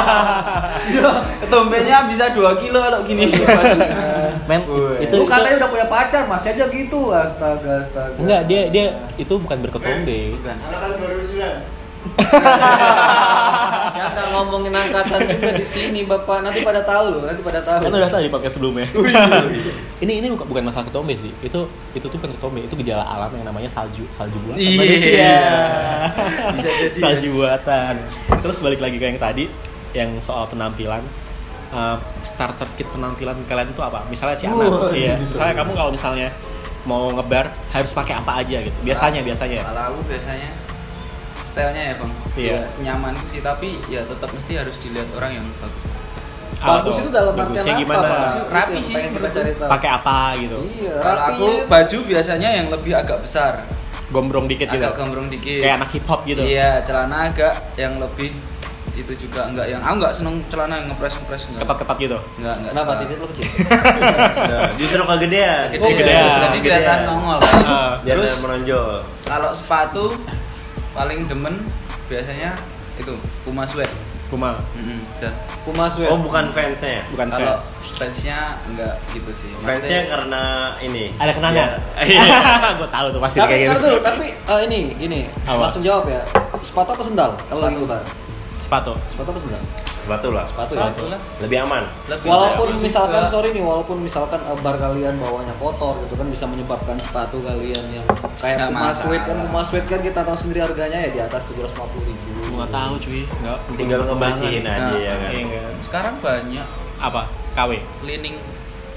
Speaker 4: Ketombenya bisa 2 kilo kalau gini.
Speaker 1: men itu
Speaker 2: Lu
Speaker 1: itu-
Speaker 2: katanya udah punya pacar, masih aja gitu. Astaga, astaga.
Speaker 1: enggak dia dia itu bukan berketombe
Speaker 4: Bukan.
Speaker 3: Angkatan 2009.
Speaker 2: Jangan ngomongin angkatan juga di sini, Bapak. Nanti pada tahu loh, nanti pada tahu.
Speaker 1: kan udah tahu di podcast sebelumnya ini ini bukan bukan masalah ketombe sih itu itu tuh bukan ketombe itu gejala alam yang namanya salju salju buatan
Speaker 4: Iya.
Speaker 1: manusia.
Speaker 4: Bisa jadi,
Speaker 1: salju buatan terus balik lagi ke yang tadi yang soal penampilan Eh, starter kit penampilan kalian tuh apa misalnya si Anas
Speaker 2: Wah,
Speaker 1: iya
Speaker 2: bisa.
Speaker 1: misalnya kamu kalau misalnya mau ngebar harus pakai apa aja gitu biasanya biasanya
Speaker 4: Kalau aku biasanya stylenya ya bang,
Speaker 1: Iya.
Speaker 4: ya senyaman sih tapi ya tetap mesti harus dilihat orang yang bagus.
Speaker 1: Apa
Speaker 2: bagus
Speaker 1: tuh?
Speaker 2: itu dalam artian
Speaker 1: bagusnya
Speaker 2: apa?
Speaker 1: gimana
Speaker 2: Bagus itu
Speaker 4: Rapi
Speaker 2: yang
Speaker 4: sih,
Speaker 2: Pengen kita
Speaker 4: menurut
Speaker 2: cari tahu.
Speaker 1: pakai apa gitu
Speaker 2: Iya,
Speaker 4: Kalau
Speaker 2: rapi.
Speaker 4: aku baju biasanya yang lebih agak besar,
Speaker 1: gombrong dikit gitu
Speaker 4: agak gembrong dikit.
Speaker 1: kayak anak hip hop gitu
Speaker 4: Iya, celana agak yang lebih itu juga enggak yang aku enggak seneng celana yang ngepres ngepres enggak.
Speaker 1: ketat-ketat gitu
Speaker 4: Enggak, enggak.
Speaker 2: Kenapa
Speaker 4: suka.
Speaker 2: titik lu kecil?
Speaker 3: Justru kegedean.
Speaker 4: Agak
Speaker 1: Oh,
Speaker 4: Gede,
Speaker 1: gede.
Speaker 4: jadi
Speaker 1: Gede.
Speaker 4: kelihatan nongol.
Speaker 1: Eh,
Speaker 3: Biar
Speaker 4: Terus
Speaker 3: dia menonjol.
Speaker 4: kalau sepatu paling demen biasanya itu Puma sweat.
Speaker 1: Puma
Speaker 4: Mm-mm, udah.
Speaker 2: Puma
Speaker 4: Iya.
Speaker 2: sweat.
Speaker 3: Oh, bukan fansnya.
Speaker 1: bukan
Speaker 4: Kalau
Speaker 1: fans.
Speaker 4: fansnya enggak gitu sih.
Speaker 3: Fansnya
Speaker 4: Maksudnya-
Speaker 3: karena ini. Iya.
Speaker 1: ada kenangan gue tahu tuh pasti
Speaker 2: Tapi
Speaker 1: kayak
Speaker 2: ntar
Speaker 1: gitu
Speaker 2: dulu, tapi eh, ini gini,
Speaker 1: Apa?
Speaker 2: langsung jawab ya. Sepatu apa sendal? Kalau lagi lebar.
Speaker 1: sepatu
Speaker 2: Sepatu apa sendal?
Speaker 3: Batu lah.
Speaker 2: Sepatu ya.
Speaker 4: Sepatu lah.
Speaker 3: Lebih aman.
Speaker 4: Lebih
Speaker 2: Walaupun
Speaker 4: bagus
Speaker 2: misalkan
Speaker 4: juga.
Speaker 2: sorry nih, walaupun misalkan eh, bar kalian bawahnya kotor gitu kan bisa menyebabkan sepatu kalian yang kayak
Speaker 4: Nggak
Speaker 2: Puma
Speaker 4: masalah.
Speaker 2: sweat kan Puma sweat kan kita tahu sendiri harganya ya di atas 750 ribu.
Speaker 1: gua nggak tahu cuy nggak
Speaker 3: Tinggal ngebersihin aja
Speaker 4: Nah,
Speaker 3: ya kan.
Speaker 1: Iya, nggak.
Speaker 4: sekarang banyak
Speaker 1: apa KW
Speaker 4: cleaning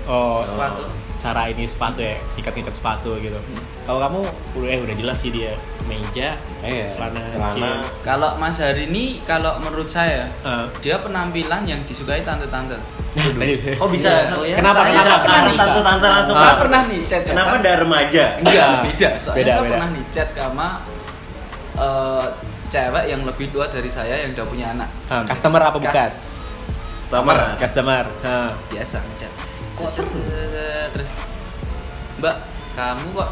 Speaker 1: oh
Speaker 4: sepatu.
Speaker 1: cara ini sepatu ya ikat-ikat sepatu gitu kalau kamu udah eh, udah jelas sih dia meja
Speaker 2: Iya.
Speaker 1: celana
Speaker 3: Celana.
Speaker 1: jeans.
Speaker 4: Kalau Mas Hari ini kalau menurut saya
Speaker 1: Eh,
Speaker 4: dia penampilan yang disukai tante-tante.
Speaker 1: tadi
Speaker 3: Oh, bisa.
Speaker 4: Iya,
Speaker 1: Kenapa?
Speaker 4: Saya,
Speaker 1: Kenapa?
Speaker 4: saya pernah nih.
Speaker 1: Tante-
Speaker 3: tante langsung.
Speaker 4: Saya pernah nih chat.
Speaker 3: Kenapa ada remaja?
Speaker 4: Enggak, beda. Soalnya
Speaker 1: Beda,
Speaker 4: saya
Speaker 1: beda.
Speaker 4: pernah nih chat sama eh, cewek yang lebih tua dari saya yang udah punya anak.
Speaker 1: Eh, customer apa bukan
Speaker 4: Kas-
Speaker 3: Sama.
Speaker 1: customer Eh,
Speaker 4: biasa ngechat.
Speaker 2: Kok seru?
Speaker 4: Terus Mbak, kamu kok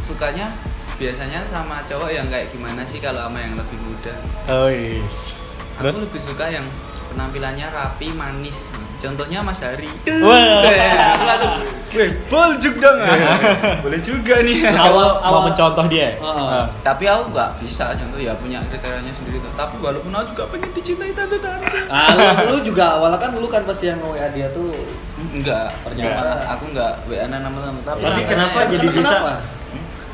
Speaker 4: sukanya biasanya sama cowok yang kayak gimana sih kalau sama yang lebih muda?
Speaker 1: oh yes. terus
Speaker 4: Aku lebih suka yang penampilannya rapi, manis. Contohnya Mas Hari.
Speaker 1: Wah.
Speaker 4: Aku langsung, weh, boljuk dong. ah." Boleh juga nih.
Speaker 1: terus kamu
Speaker 2: Awal-
Speaker 1: mau
Speaker 2: awal-
Speaker 1: mencontoh dia
Speaker 2: Heeh.
Speaker 1: Eh,
Speaker 4: Nah, Tapi aku nggak bisa contoh ya punya kriterianya sendiri. tuh. Tapi walaupun aku juga pengen dicintai tante-tante.
Speaker 2: Ah, lu, lu juga awalnya kan lu kan pasti yang WA dia tuh.
Speaker 4: Enggak,
Speaker 2: Enggak.
Speaker 4: ternyata aku enggak WA nama teman tapi
Speaker 3: Tapi
Speaker 4: makanya-
Speaker 3: kenapa
Speaker 2: Tapi
Speaker 3: jadi bisa
Speaker 2: kenapa?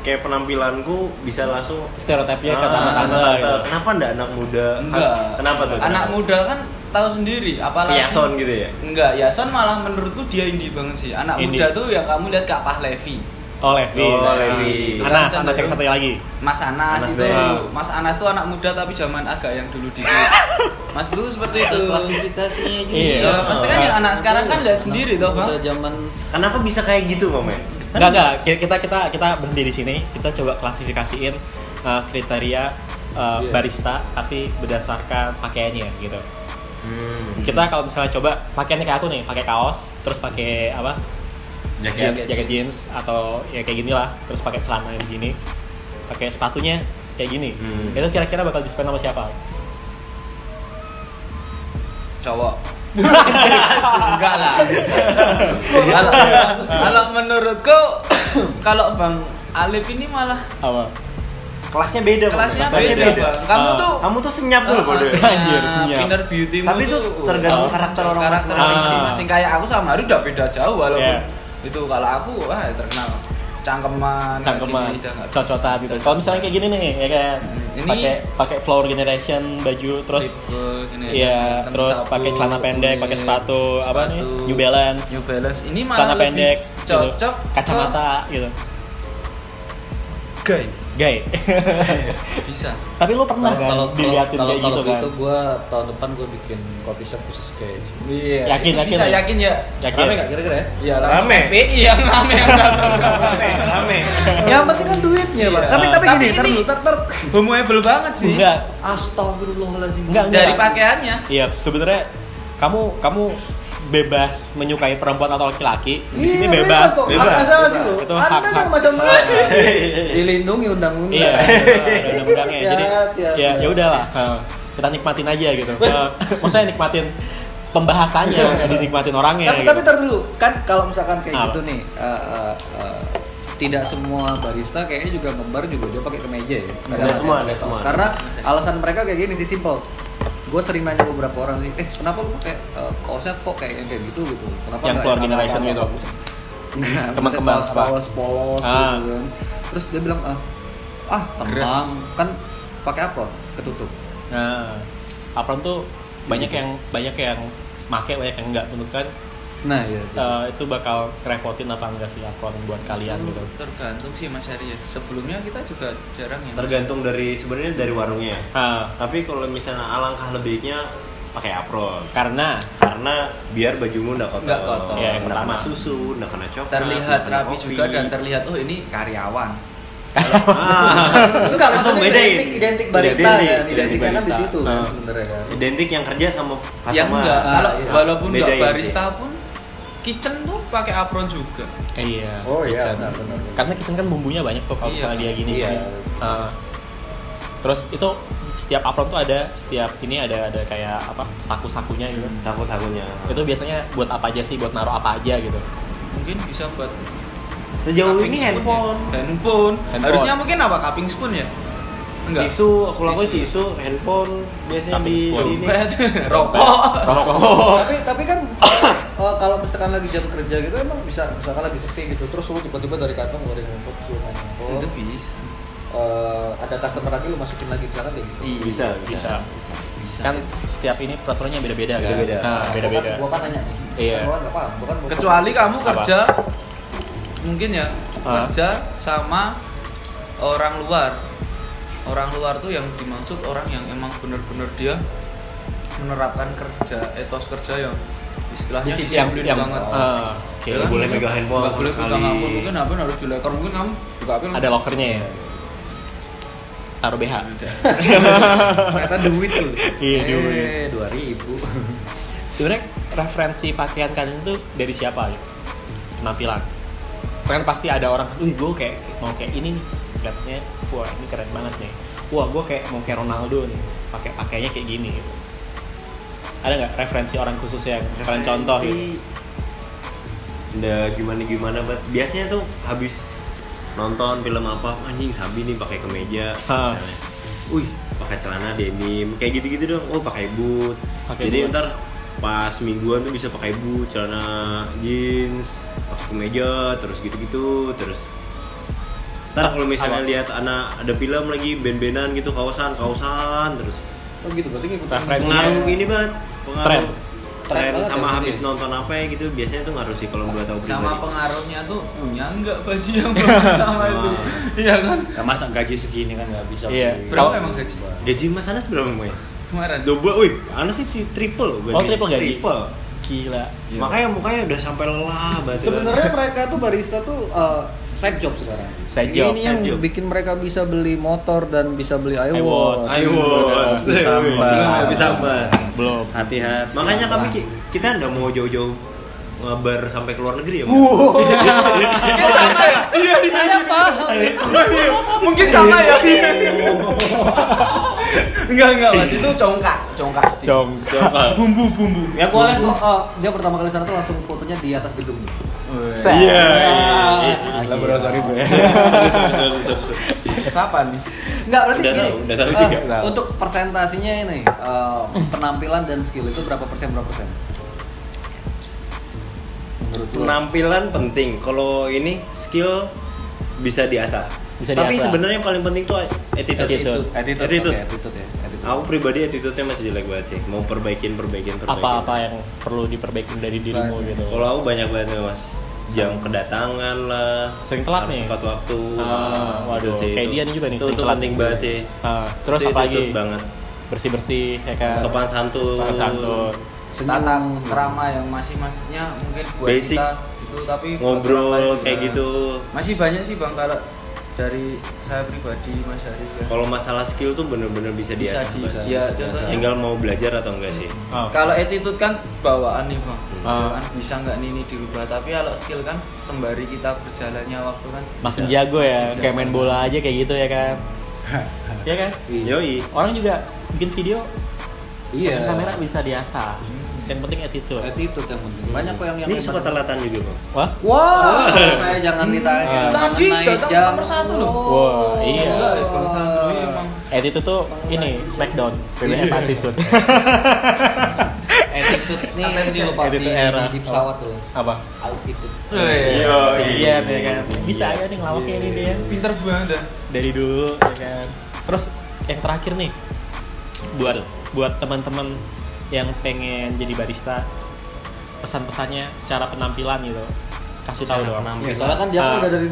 Speaker 3: kayak penampilanku bisa langsung
Speaker 1: stereotipnya ke
Speaker 3: Ah,
Speaker 1: tante-tante lah
Speaker 3: tante.
Speaker 1: gitu
Speaker 3: Kenapa enggak anak muda?
Speaker 4: enggak?
Speaker 3: Kenapa tuh?
Speaker 4: Anak muda kan tahu sendiri apalagi
Speaker 3: Kiason gitu ya.
Speaker 4: Enggak, Yason malah menurutku dia indie banget sih. Anak
Speaker 1: Indie.
Speaker 4: muda tuh ya kamu lihat Kak Pah Levi.
Speaker 1: oh Levi
Speaker 3: Oh, Levi.
Speaker 1: Eh, Anas Anas yang satu lagi
Speaker 4: Mas Anas,
Speaker 3: Anas
Speaker 4: itu,
Speaker 3: Bey.
Speaker 4: Mas Anas tuh anak muda tapi zaman agak yang dulu dikit. Mas itu seperti itu.
Speaker 2: Klasifikasinya juga. Nah,
Speaker 1: Iya.
Speaker 4: Iya, pasti kan yang anak sekarang kan lihat sendiri toh, Bang.
Speaker 2: Udah zaman
Speaker 3: Kenapa bisa kayak gitu, Momen?
Speaker 1: Enggak enggak Ki- kita kita kita berhenti di sini. Kita coba klasifikasiin uh, kriteria uh,
Speaker 2: Iya.
Speaker 1: barista tapi berdasarkan pakaiannya gitu.
Speaker 3: Hmm.
Speaker 1: Kita kalau misalnya coba pakaiannya kayak aku nih, pakai kaos, terus pakai apa?
Speaker 3: Jaket.
Speaker 1: jeans, jaket jeans atau ya kayak gini lah, terus pakai celana yang begini. Pakai sepatunya kayak gini.
Speaker 3: Hmm.
Speaker 1: Itu kira-kira bakal disukai sama siapa?
Speaker 4: Cowok. Enggak lah. Kalau- Kalau menurutku kalau Bang Alif ini malah
Speaker 1: Apa?
Speaker 3: Kelasnya beda, Momen.
Speaker 4: kelasnya
Speaker 1: kelasnya
Speaker 4: beda,
Speaker 1: beda.
Speaker 4: Bang. Kamu
Speaker 1: Ah,
Speaker 4: tuh
Speaker 3: Kamu tuh senyap dulu,
Speaker 4: Ah,
Speaker 3: Bode.
Speaker 4: senyap,
Speaker 1: Anjir, senyap.
Speaker 4: Pinter beauty
Speaker 3: Tapi itu tergantung karakter orang
Speaker 4: Oh, karakter
Speaker 1: Ah. masing-masing.
Speaker 4: masing-masing. Kayak aku sama Ari udah beda jauh walaupun
Speaker 1: Iya.
Speaker 4: itu kalau aku wah terkenal cangkeman kayak
Speaker 1: cangkeman
Speaker 4: gini, udah nggak-
Speaker 1: cocotan gitu kalau misalnya kayak gini nih ya kan
Speaker 4: Hmm, ini-
Speaker 1: pakai pakai flower generation baju terus
Speaker 4: tipe gini ya,
Speaker 1: Iya,
Speaker 4: kan,
Speaker 1: terus
Speaker 4: sapu,
Speaker 1: pakai celana pendek, pakai
Speaker 4: kulit,
Speaker 1: sepatu, apa nih?
Speaker 4: sepatu.
Speaker 1: New Balance.
Speaker 4: New Balance ini malah
Speaker 1: celana
Speaker 4: lebih
Speaker 1: pendek, gitu.
Speaker 4: cocok
Speaker 1: kacamata gitu.
Speaker 4: ke gay
Speaker 1: Gay.
Speaker 4: bisa
Speaker 1: Tapi lu pernah kan
Speaker 2: kalau
Speaker 1: diliatin
Speaker 2: kalau
Speaker 1: kayak
Speaker 2: kalau
Speaker 1: gitu kan?
Speaker 2: gitu gue tahun depan gue bikin coffee shop khusus gitu. sketch
Speaker 4: Iya.
Speaker 1: Yakin,
Speaker 4: itu
Speaker 1: yakin
Speaker 4: bisa
Speaker 1: ya?
Speaker 4: yakin ya?
Speaker 1: Yakin.
Speaker 2: rame gak kira-kira ya
Speaker 4: Iya, langsung
Speaker 3: Rame.
Speaker 4: FPI yang rame yang datang.
Speaker 3: rame rame
Speaker 2: yang penting kan duitnya
Speaker 4: Iya.
Speaker 2: pak tapi tapi
Speaker 4: Tapi
Speaker 2: gini
Speaker 4: ini-
Speaker 2: ter dulu ter ter
Speaker 4: Homoable banget sih.
Speaker 1: Enggak.
Speaker 2: astagfirullahaladzim
Speaker 1: Enggak, enggak.
Speaker 4: Dari pakaiannya.
Speaker 1: Iya, sebenarnya kamu kamu bebas menyukai perempuan atau laki-laki. Di sini bebas.
Speaker 2: Iya, kok.
Speaker 3: bebas.
Speaker 2: Hak asasi lo.
Speaker 1: Itu
Speaker 2: Anda
Speaker 1: hak-
Speaker 2: yang
Speaker 1: hak.
Speaker 2: macam mana? Dilindungi undang-undang.
Speaker 1: Iya, ada undang-undangnya.
Speaker 2: Ya,
Speaker 1: Jadi
Speaker 2: ya,
Speaker 1: ya
Speaker 2: ya.
Speaker 1: ya udahlah. eh, Kita nikmatin aja gitu. Eh, Maksudnya nikmatin pembahasannya, nggak dinikmatin orangnya.
Speaker 2: Tapi,
Speaker 1: gitu.
Speaker 2: tapi tar dulu kan kalau misalkan kayak
Speaker 1: Apa?
Speaker 2: gitu nih, eh, eh, eh, tidak semua barista kayaknya juga ngebar juga dia pakai kemeja ya. Kadang-kadang.
Speaker 3: semua, ada semua.
Speaker 2: Karena alasan mereka kayak gini sih simple. Gue sering nanya beberapa orang sih, eh kenapa lu pakai eh, kaosnya kok kayak yang kayak gitu gitu? Kenapa
Speaker 1: Yang
Speaker 2: nggak
Speaker 1: keluar
Speaker 2: yang
Speaker 1: generation
Speaker 2: apa-apa?"
Speaker 1: gitu.
Speaker 2: Enggak,
Speaker 1: Teman kembar
Speaker 2: kaos
Speaker 1: apa?
Speaker 2: polos polos
Speaker 1: Ah.
Speaker 2: gitu kan. Terus dia bilang ah, ah tenang kan pakai apa? Ketutup.
Speaker 1: Nah, apron tuh banyak yang banyak yang make banyak yang enggak menurut kan
Speaker 2: Nah iya. iya.
Speaker 1: eh, itu bakal kerepotin apa enggak sih apron buat kalian gitu.
Speaker 4: Tergantung sih Mas Ari ya. Sebelumnya kita juga jarang ya.
Speaker 3: tergantung dari sebenarnya dari warungnya
Speaker 1: Ah,
Speaker 3: tapi kalau misalnya alangkah lebihnya pakai apron
Speaker 1: karena
Speaker 3: karena biar bajumu nggak kotor,
Speaker 4: Nggak kotor.
Speaker 1: Ya, yang
Speaker 3: nggak
Speaker 1: pertama.
Speaker 3: kena susu nggak kena coklat
Speaker 4: Terlihat
Speaker 3: nggak kena
Speaker 4: rapi
Speaker 3: kopi.
Speaker 4: juga dan terlihat oh ini karyawan.
Speaker 3: Ah,
Speaker 2: Enggak,
Speaker 3: langsung
Speaker 2: maksudnya
Speaker 3: bedain.
Speaker 1: ya?
Speaker 2: identik, identik barista
Speaker 3: Identik,
Speaker 2: kan, identiknya kan di
Speaker 3: barista.
Speaker 2: situ kan
Speaker 1: Ah.
Speaker 2: sebenarnya kan.
Speaker 3: identik yang kerja sama customer.
Speaker 4: Yang Ya enggak
Speaker 2: ah,
Speaker 4: kalau
Speaker 2: iya.
Speaker 4: walaupun
Speaker 3: Beda
Speaker 4: enggak
Speaker 3: ya,
Speaker 4: barista pun kitchen tuh pakai apron juga.
Speaker 1: eh, iya.
Speaker 2: Oh iya,
Speaker 1: kitchen.
Speaker 2: benar, benar, benar.
Speaker 1: Karena kitchen kan bumbunya banyak tuh kalau
Speaker 4: Iya.
Speaker 1: misalnya dia gini.
Speaker 2: Iya.
Speaker 1: gini. Ah, terus itu setiap apron tuh ada setiap ini ada ada kayak apa saku-sakunya gitu.
Speaker 3: takut sakunya
Speaker 1: Itu biasanya buat apa aja sih? Buat naruh apa aja gitu.
Speaker 4: Mungkin bisa buat
Speaker 3: sejauh
Speaker 4: cupping
Speaker 3: ini
Speaker 4: spoon ya.
Speaker 3: handphone
Speaker 4: handphone.
Speaker 1: Handphone.
Speaker 4: Harusnya mungkin apa cupping spoon ya? Enggak.
Speaker 3: tisu aku lakuin
Speaker 4: Tisu.
Speaker 3: tisu handphone biasanya
Speaker 1: Tapi
Speaker 3: di,
Speaker 1: spoon.
Speaker 3: di ini
Speaker 4: Rokok.
Speaker 1: Rokok.
Speaker 2: Tapi tapi kan eh, kalau misalkan lagi jam kerja gitu emang bisa misalkan lagi sepi gitu terus lu tiba-tiba dari kantor ngeluarin handphone suruh main handphone.
Speaker 4: Itu bisa.
Speaker 2: Eh, ada customer lagi lu masukin lagi misalkan kayak gitu.
Speaker 3: bisa bisa
Speaker 1: Bisa.
Speaker 4: Bisa.
Speaker 1: Kan setiap ini peraturannya beda-beda kan.
Speaker 3: Beda-beda.
Speaker 1: Ah, beda-beda.
Speaker 2: Gua kan- Gua kan nanya nih.
Speaker 1: Iya.
Speaker 2: Gua kan enggak paham, gua kan gua-
Speaker 4: kecuali kamu
Speaker 1: Apa?
Speaker 4: kerja mungkin ya
Speaker 1: Ah.
Speaker 4: kerja sama orang luar orang luar tuh yang dimaksud orang yang emang bener-bener dia menerapkan kerja etos kerja yang istilahnya
Speaker 1: Disiplin.
Speaker 4: disiplin,
Speaker 1: Yang-
Speaker 4: banget
Speaker 1: yang- ah, oke.
Speaker 4: Ya
Speaker 3: Nggak boleh
Speaker 4: Mungkin
Speaker 3: megang handphone
Speaker 4: nggak
Speaker 3: sama
Speaker 4: boleh
Speaker 3: sekali.
Speaker 4: pegang handphone mungkin HP harus dilekor mungkin kamu buka HP
Speaker 1: Ada lokernya ya. Taruh BH.
Speaker 2: ternyata duit lu.
Speaker 1: Iya, duit.
Speaker 2: Eh, 2000.
Speaker 1: Sebenarnya referensi pakaian kalian itu dari siapa ya? Penampilan. Kan pasti ada orang, "Wih, gue kayak mau kayak ini nih." Lihatnya, wah ini keren banget nih. Wah, gue kayak mau kayak Ronaldo nih. Pakai pakainya kayak gini. Gitu. Ada nggak referensi orang khusus yang kalian contoh? Gitu?
Speaker 3: Nggak gimana-gimana banget. Biasanya tuh habis nonton film apa anjing Sabi nih pakai kemeja
Speaker 1: Ha.
Speaker 3: misalnya. Wih, pakai celana denim kayak gitu-gitu dong. Oh, pakai boot.
Speaker 1: Pakai
Speaker 3: Jadi
Speaker 1: boots.
Speaker 3: ntar pas mingguan tuh bisa pakai boot, celana jeans, pakai kemeja, terus gitu-gitu, terus Ntar kalau misalnya
Speaker 1: Apa?
Speaker 3: lihat anak ada film lagi ben-benan gitu kawasan kawasan terus
Speaker 2: Oh gitu berarti ngikutin.
Speaker 1: Referensi.
Speaker 3: pengaruh ini banget pengaruh
Speaker 1: Tren.
Speaker 2: Tren
Speaker 3: tren
Speaker 2: banget
Speaker 3: sama
Speaker 2: ya,
Speaker 3: habis
Speaker 2: berarti.
Speaker 3: nonton apa ya gitu biasanya tuh ngaruh sih kalau gue tahu
Speaker 4: sama
Speaker 3: pribadi.
Speaker 4: pengaruhnya tuh punya nggak baju yang bagus sama itu iya kan
Speaker 2: Ya masa gaji segini kan enggak bisa.
Speaker 1: Iya.
Speaker 2: beli.
Speaker 4: berapa
Speaker 1: Kalau-
Speaker 4: emang gaji
Speaker 3: Gaji Mas Anas berapa Moy?
Speaker 4: kemarin
Speaker 3: Coba, wih, Anas sih tri- triple loh gaji.
Speaker 1: Oh, triple gaji?
Speaker 3: Triple.
Speaker 1: Gila.
Speaker 3: Makanya mukanya udah sampai lelah banget.
Speaker 2: Sebenarnya mereka tuh barista tuh uh, side job sekarang.
Speaker 1: Side
Speaker 2: ini,
Speaker 1: job,
Speaker 2: ini
Speaker 1: side
Speaker 2: yang
Speaker 3: job.
Speaker 2: bikin mereka bisa beli motor dan bisa beli
Speaker 1: iWatch.
Speaker 2: iWatch. Eh,
Speaker 3: ayo,
Speaker 2: Bisa sambat.
Speaker 3: Lebih sambat.
Speaker 1: Belum.
Speaker 2: Hati-hati.
Speaker 3: Makanya kami ki- kita nggak mau jauh-jauh ngabar sampai ke luar negeri ya. Moy?
Speaker 2: Wow.
Speaker 4: mungkin sama ya iya
Speaker 2: Saya paham.
Speaker 4: mungkin sama ya enggak enggak mas itu congkak congkak sedikit
Speaker 1: Cong.
Speaker 4: bumbu bumbu
Speaker 2: Ya gua lihat kok uh, dia pertama kali sana tuh langsung fotonya di atas gedung.
Speaker 1: Set.
Speaker 3: Iya.
Speaker 1: Gila, bro, sorry, bro.
Speaker 4: siapa nih
Speaker 2: Enggak berarti
Speaker 3: Udah
Speaker 2: gini.
Speaker 3: tahu, udah tahu
Speaker 2: eh,
Speaker 3: juga.
Speaker 1: Tahu.
Speaker 2: Untuk persentasenya ini uh, penampilan dan skill itu berapa persen berapa persen? Menurut lu?
Speaker 3: Penampilan penting. Kalau ini skill bisa diasah.
Speaker 1: Bisa
Speaker 3: Tapi
Speaker 1: diasah.
Speaker 3: sebenarnya yang paling penting tuh
Speaker 1: Attitude.
Speaker 3: attitude.
Speaker 2: attitude
Speaker 3: Attitude.
Speaker 2: oke, attitude ya attitude.
Speaker 3: Aku pribadi attitude-nya masih jelek banget sih. Mau perbaikin, perbaikin, perbaikin.
Speaker 1: Apa-apa ya? yang perlu diperbaiki dari dirimu
Speaker 2: Baik.
Speaker 1: gitu.
Speaker 3: Kalau aku banyak banget nih mas jam kedatangan lah
Speaker 1: Sering telat
Speaker 3: harus
Speaker 1: nih.
Speaker 3: tepat waktu Gitu
Speaker 1: Ah, waduh.
Speaker 3: sih,
Speaker 1: Kayak
Speaker 3: itu.
Speaker 1: dia nih juga nih,
Speaker 3: itu,
Speaker 1: sering
Speaker 3: itu
Speaker 1: telat
Speaker 3: penting
Speaker 1: nih.
Speaker 3: banget sih
Speaker 1: Ah, terus
Speaker 3: Itu-
Speaker 1: apa
Speaker 3: itu-
Speaker 1: lagi?
Speaker 3: itu banget
Speaker 1: Bersih-bersih ya kan.
Speaker 3: sopan santun
Speaker 1: Sopan santun.
Speaker 2: Tata
Speaker 4: Senyum.
Speaker 2: kerama yang
Speaker 4: masih masnya mungkin buat
Speaker 3: Basic.
Speaker 4: kita itu tapi buat orang
Speaker 3: ngobrol
Speaker 4: lain
Speaker 3: kayak
Speaker 4: juga.
Speaker 3: gitu
Speaker 4: masih banyak sih bang kalau dari saya pribadi mas Haris ya
Speaker 3: kalau masalah skill tuh bener-bener bisa
Speaker 2: Bisa
Speaker 3: diasah
Speaker 2: di-
Speaker 3: Mas.
Speaker 2: bisa.
Speaker 4: ya
Speaker 2: bisa,
Speaker 4: contohnya
Speaker 2: bisa.
Speaker 3: tinggal mau belajar atau enggak sih
Speaker 1: Ah,
Speaker 4: kalau attitude kan bawaan nih bang
Speaker 1: Ah.
Speaker 4: Bawaan bisa nggak nih ini dirubah tapi kalau skill kan sembari kita berjalannya waktu kan
Speaker 1: makin
Speaker 4: bisa.
Speaker 1: jago ya,
Speaker 4: Makin
Speaker 1: kayak
Speaker 4: jago.
Speaker 1: main bola aja kayak gitu ya kan. ya kan?
Speaker 3: yoi
Speaker 1: Orang juga bikin video,
Speaker 2: iya
Speaker 1: dengan kamera bisa diasah.
Speaker 3: Hmm.
Speaker 1: Yang penting attitude.
Speaker 2: attitude yang penting banyak kok yang yang
Speaker 3: ini suka telatan juga bang
Speaker 1: Wah. Oh.
Speaker 2: wah saya jangan ditanya
Speaker 1: Ah.
Speaker 4: Tadi
Speaker 2: mengenai
Speaker 4: datang
Speaker 2: jam. Nah,
Speaker 4: nomor satu loh.
Speaker 1: Wah, iya.
Speaker 2: Oh,
Speaker 4: Enggak, ya, Bang Satu ini emang
Speaker 1: Attitude tuh ini smackdown,
Speaker 3: Iya.
Speaker 1: BBM attitude.
Speaker 2: attitude nih nanti
Speaker 4: Attitude
Speaker 2: lupa di,
Speaker 1: era.
Speaker 2: di pesawat tuh
Speaker 1: apa?
Speaker 2: attitude
Speaker 4: Iya.
Speaker 1: iya ya kan. Bisa aja nih ngelawaknya
Speaker 3: Iya,
Speaker 1: ini dia
Speaker 4: pinter banget dah.
Speaker 1: dari dulu ya kan. Terus yang terakhir nih buat buat teman-teman yang pengen jadi barista pesan-pesannya secara penampilan gitu kasih tahu dong.
Speaker 2: ya, soalnya kan dia kan
Speaker 1: Ah,
Speaker 2: udah dari